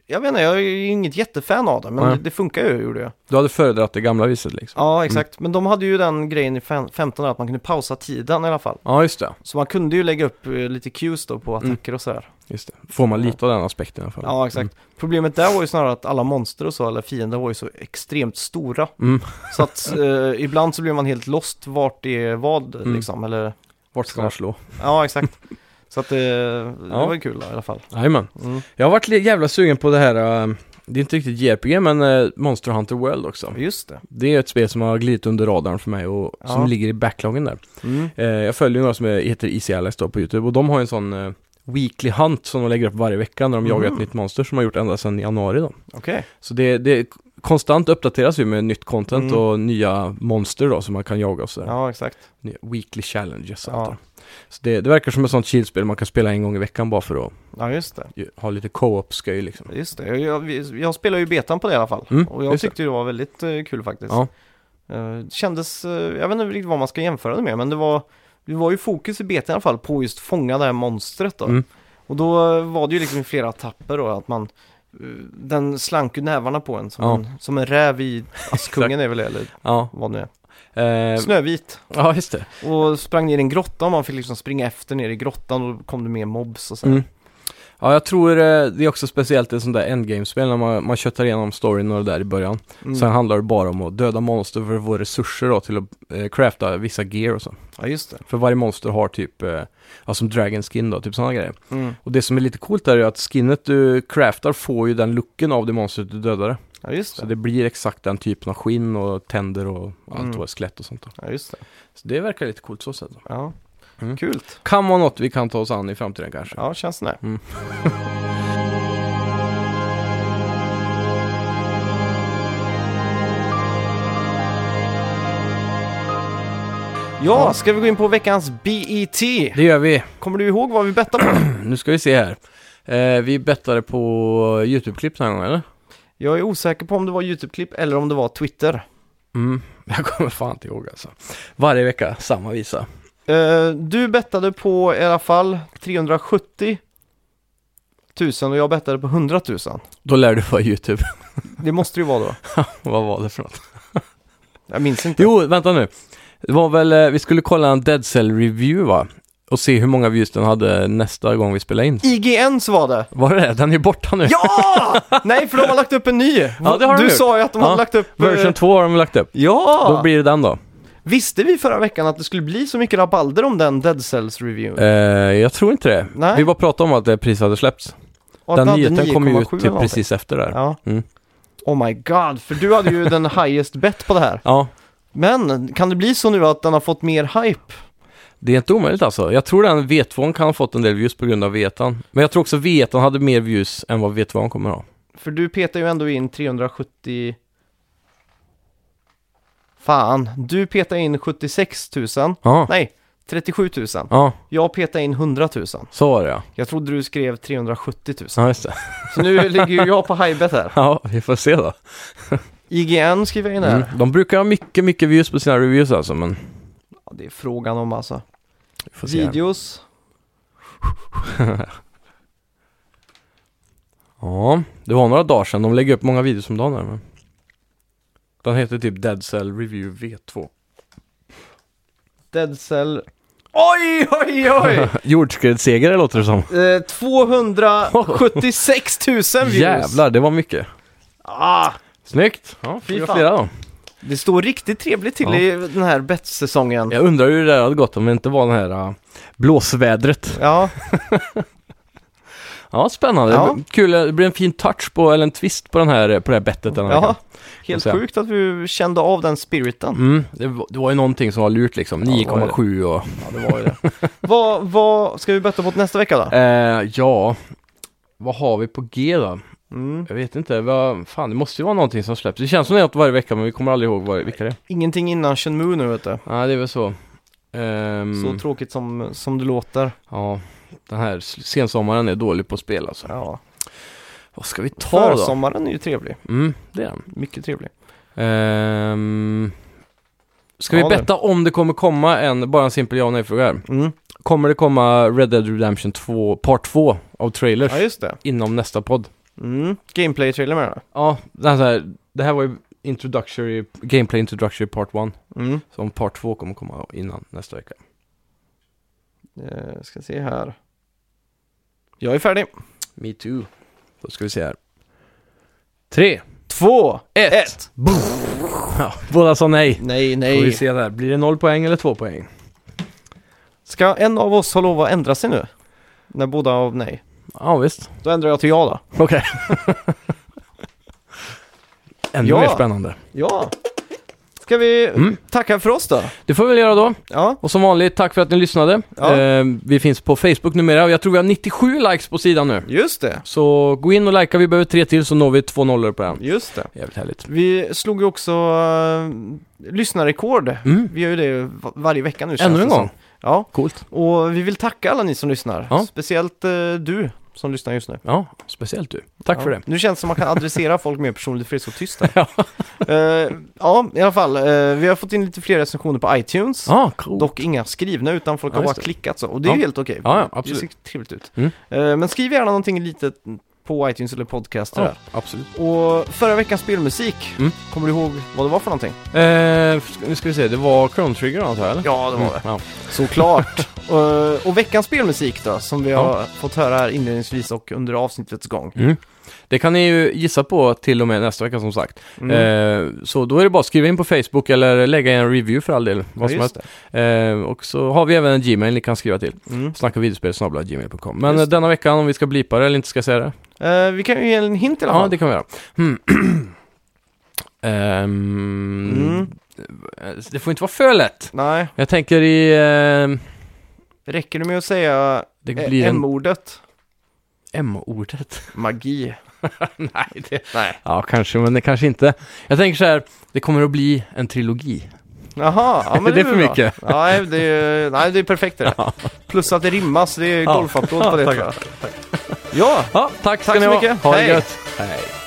S1: jag vet inte, jag är ju inget jättefan av det, men
S2: Nej.
S1: det, det funkar ju, gjorde jag.
S2: Du hade föredragit det gamla viset liksom?
S1: Ja, exakt. Men de hade ju den grejen i fem- 15 där att man kunde pausa tiden i alla fall.
S2: Ja, just det.
S1: Så man kunde ju lägga upp eh, lite cues då på attacker och sådär.
S2: Just det. Får man lite av den aspekten i alla fall.
S1: Mm. Ja, exakt. Problemet där var ju snarare att alla monster och så, eller fiender var ju så extremt stora.
S2: Mm.
S1: Så att eh, ibland så blir man helt lost vart det är vad
S2: Mm.
S1: liksom, eller
S2: Vart ska man slå?
S1: Ja, exakt. Så att eh, det
S2: Ja.
S1: var ju kul då, i alla fall.
S2: Jajamän.
S1: Mm.
S2: Jag har varit li- jävla sugen på det här, eh, det är inte riktigt JRPG men eh, Monster Hunter World också.
S1: Just det.
S2: Det är ett spel som har glidit under radarn för mig och
S1: Ja.
S2: som ligger i backloggen där.
S1: Mm.
S2: Eh, jag följer några som är- heter Easy Allies då på YouTube och de har en sån eh, Weekly Hunt som de lägger upp varje vecka när de jagar
S1: Mhm.
S2: ett nytt monster som de har gjort ända sedan januari då.
S1: Okej.
S2: Så det, det konstant uppdateras ju med nytt content
S1: Mm.
S2: och nya monster då som man kan jaga och sådär.
S1: Ja, exakt.
S2: Nya Weekly Challenges och
S1: Ja.
S2: allt det där. Så det, det verkar som ett sånt chillspel man kan spela en gång i veckan bara för att
S1: Ja, just det.
S2: ju- ha lite co-op-sköj liksom.
S1: Just det. Jag, jag, jag spelar ju betan på det i alla fall.
S2: Mm,
S1: och jag
S2: just det.
S1: tyckte det var väldigt eh, kul faktiskt.
S2: Ja.
S1: Eh, kändes, eh, jag vet inte riktigt vad man ska jämföra det med, men det var, det var ju fokus i betan i alla fall på just fånga det här monstret då.
S2: Mm.
S1: Och då eh, var det ju liksom i flera tapper då, att man eh, den slank ju nävarna på en som,
S2: Ja.
S1: en, som en räv i Askungen är väl det, eller
S2: Ja,
S1: vad nu är.
S2: eh,
S1: Snövit.
S2: ja just det.
S1: Och sprang ner i en grotta och man fick liksom springa efter ner i grottan och då kom det mer mobs och så.
S2: Mm. Ja, jag tror eh, det är också speciellt i sånt där endgame-spel när man, man köttar igenom storyn och det där i början.
S1: Mm.
S2: Sen handlar det bara om att döda monster för att få resurser då till att eh, crafta vissa gear och så.
S1: Ja, just det.
S2: För varje monster har typ, eh, ja som dragon skin då, typ sådana grejer.
S1: Mm.
S2: Och det som är lite coolt där är att skinnet du craftar får ju den looken av det monstret du dödade.
S1: Ja, just
S2: Så
S1: det.
S2: det blir exakt den typen av skinn och tänder och allt
S1: Mm.
S2: vad skelett och sånt då.
S1: Ja, just det.
S2: Så det verkar lite coolt så sätt. då.
S1: Ja.
S2: Mm.
S1: Kul.
S2: Kan vara något vi kan ta oss an i framtiden kanske.
S1: Ja, känns det.
S2: Mm.
S1: Ja, ska vi gå in på veckans BET?
S2: Det gör vi.
S1: Kommer du ihåg vad vi bettade på?
S2: Nu ska vi se här. Eh, vi bettade på YouTube-klipp den här gången, eller?
S1: Jag är osäker på om det var YouTube-klipp eller om det var Twitter.
S2: Mm. Jag kommer fan inte ihåg alltså. Varje vecka, samma visa.
S1: Eh, du bettade på i alla fall 370 000 och jag bettade på 100 000.
S2: Då lär du vara YouTube.
S1: Det måste det ju vara då.
S2: Vad var det för något?
S1: Jag minns inte.
S2: Jo, vänta nu. Det var väl, eh, vi skulle kolla en Dead Cell review va? Och se hur många views den hade nästa gång vi spelade in.
S1: IGN så var det!
S2: Var det det? Den är borta nu.
S1: Ja! Nej, för de har lagt upp en ny!
S2: Ja, det har de
S1: du
S2: gjort.
S1: sa ju att de hade
S2: Ja,
S1: lagt upp... eh,
S2: Version 2 har de lagt upp.
S1: Ja!
S2: Då blir det den då.
S1: Visste vi förra veckan att det skulle bli så mycket rabalder om den Dead Cells review?
S2: Eh, jag tror inte det.
S1: Nej.
S2: Vi bara pratade om att det precis hade släppts.
S1: Och att
S2: Den
S1: hade
S2: nyheten kom ju
S1: 9,7
S2: ut
S1: eller
S2: typ
S1: någonting.
S2: precis efter där.
S1: Ja.
S2: Mm.
S1: Oh my god, för du hade ju den highest bet på det här.
S2: ja,
S1: Men kan det bli så nu att den har fått mer hype?
S2: Det är inte omöjligt alltså. Jag tror den V2 kan ha fått en del views på grund av V1. Men jag tror också V1 hade mer views än vad V2 kommer ha.
S1: För du petar ju ändå in 370... Fan, du petar in 76 000.
S2: Ja,
S1: Nej, 37 000.
S2: Ja,
S1: Jag petade in 100 000.
S2: så var det ja.
S1: Jag trodde du skrev 370 000.
S2: Ja, just det.
S1: Så nu ligger ju jag på high bet här.
S2: Ja, vi får se då.
S1: IGN skriver jag in här.
S2: Mm. De brukar ha mycket, mycket views på sina reviews alltså, men
S1: Ja, det är frågan om alltså.
S2: vi får se.
S1: Videos.
S2: Ja, det var några dagar sedan. De lägger upp många videos om dagen här, men... Den heter typ Dead Cell Review V2.
S1: Dead Cell. Oj, oj, oj!
S2: Jordskredssegrare låter det som.
S1: Eh, 276 000 views!
S2: Jävlar, det var mycket.
S1: Ah,
S2: Snyggt! Ja,
S1: Fy
S2: fyra
S1: fan.
S2: flera då.
S1: det står riktigt trevligt till
S2: Ja.
S1: i den här bettsäsongen.
S2: Jag undrar hur det där hade gått om det inte var den här äh, blåsvädret.
S1: Ja,
S2: Ja, spännande.
S1: Ja.
S2: Det- Kul, det blir en fin touch på, eller en twist på, den här, på det här bettet den här
S1: ja.
S2: veckan.
S1: Helt
S2: Får se.
S1: sjukt att du kände av den spiriten.
S2: Mm, det, var- det var ju någonting som var lurt liksom.
S1: Ja, det var det.
S2: 9,7 och...
S1: Ja, det var ju det. vad, vad ska vi betta på nästa vecka då?
S2: Eh, ja, vad har vi på G då?
S1: Mm.
S2: Jag vet inte, vad, fan det måste ju vara någonting som släpps. Det känns som det är något varje vecka men vi kommer aldrig ihåg vad, vilka det är.
S1: Ingenting innan Shenmue nu vet du.
S2: Nej det är väl så. Ehm,
S1: Så tråkigt som, som det låter.
S2: ja, den här s- sensommaren är dålig på spel alltså.
S1: Ja.
S2: Vad ska vi ta då?
S1: Försommaren är ju trevlig.
S2: Mm, det är den.
S1: Mycket trevlig.
S2: Ehm, ska
S1: Ja,
S2: vi
S1: det.
S2: betta om det kommer komma en, bara en simpel ja och nej-fråga här.
S1: Mm.
S2: Kommer det komma Red Dead Redemption 2, part 2 av trailers
S1: Ja, just det.
S2: inom nästa podd?
S1: Mm. Gameplay-trailer menar
S2: Ja, det här, det här var ju introductory, Gameplay Introductory Part 1.
S1: du? Mm.
S2: Så om part 2 kommer komma innan nästa vecka.
S1: Eh, ska se här. Jag är färdig.
S2: Me too. Då ska vi se här. Tre,
S1: Två,
S2: ett.
S1: ett.
S2: Ja, båda sa nej.
S1: Nej,
S2: Får vi
S1: nej.
S2: se där. Blir det noll poäng eller två poäng?
S1: Ska en av oss ha lov att ändra sig nu? När båda av nej.
S2: Ja, visst.
S1: Då ändrar jag till ja då.
S2: Okej. Ännu
S1: Ja.
S2: mer spännande.
S1: Ja. Ska vi
S2: Mm.
S1: tacka för oss då?
S2: Det får vi väl göra då.
S1: Ja.
S2: Och som vanligt, tack för att ni lyssnade.
S1: Ja.
S2: Eh, vi finns på Facebook numera och jag tror vi har 97 likes på sidan nu.
S1: Just det.
S2: Så gå in och likea, vi behöver tre till så når vi två nollor på den.
S1: Just det.
S2: Jävligt härligt.
S1: Vi slog ju också äh, lyssnarrekord.
S2: Mm.
S1: Vi gör ju det va- varje vecka nu. känns
S2: Ännu
S1: det
S2: en
S1: som.
S2: gång.
S1: Ja,
S2: Coolt.
S1: och vi vill tacka alla ni som lyssnar.
S2: Ja.
S1: Speciellt eh, du som lyssnar just nu.
S2: Ja, speciellt du. Tack
S1: ja.
S2: för det.
S1: Nu känns det som man kan adressera folk mer personligt för det är så tyst här. Eh, ja, i alla fall. eh, vi har fått in lite fler recensioner på iTunes.
S2: Ja, ah, coolt.
S1: Dock inga skrivna utan folk
S2: Ja,
S1: har bara
S2: just det.
S1: klickat så. Och det är
S2: Ja.
S1: helt okej.
S2: Ja, ja, absolut.
S1: Det ser trevligt ut.
S2: Mm.
S1: Eh, men skriv gärna någonting litet på iTunes eller podcaster
S2: Ja,
S1: där.
S2: absolut.
S1: Och förra veckans spelmusik,
S2: Mm.
S1: kommer du ihåg vad det var för någonting?
S2: Eh, f- nu ska vi se, det var Chrome Trigger antar jag eller?
S1: Ja, det
S2: Mm, ja.
S1: Såklart. Eh, och, och veckans spelmusik då, som vi
S2: Ja.
S1: har fått höra här inledningsvis och under avsnittets gång.
S2: Mm. Det kan ni ju gissa på till och med nästa vecka som sagt.
S1: Mm.
S2: Eh, så då är det bara att skriva in på Facebook eller lägga en review för all del. Vad som
S1: just
S2: helst. Eh, och så har vi även en Gmail ni kan skriva till.
S1: det. Mm.
S2: Snacka videospel gmail.com. Men
S1: Just
S2: eh, denna veckan om vi ska blipa det eller inte ska säga det.
S1: Eh, vi kan ju ge en hint i alla
S2: Ja,
S1: fall.
S2: det kan vi göra. Hmm. Ehm,
S1: Mm.
S2: eh, Det får inte vara för lätt.
S1: Nej,
S2: Jag tänker i... Eh,
S1: räcker det med att säga
S2: det
S1: eh,
S2: blir en...
S1: M-ordet?
S2: M-ordet.
S1: Magi.
S2: Nej, det...
S1: Nej.
S2: Ja, kanske, men det kanske inte. Jag tänker så här, det kommer att bli en trilogi.
S1: Jaha, ja, men
S2: Det är
S1: väl
S2: för
S1: bra.
S2: mycket.
S1: Nej, det är, nej, det är perfekt det. där. Plus att det rimmas, det är golfapplåd på det
S2: tack.
S1: tror jag. Ja,
S2: Ja, tack ska
S1: Tack
S2: ni
S1: så
S2: ha.
S1: mycket.
S2: Ha det
S1: Hej.
S2: gött. Hej.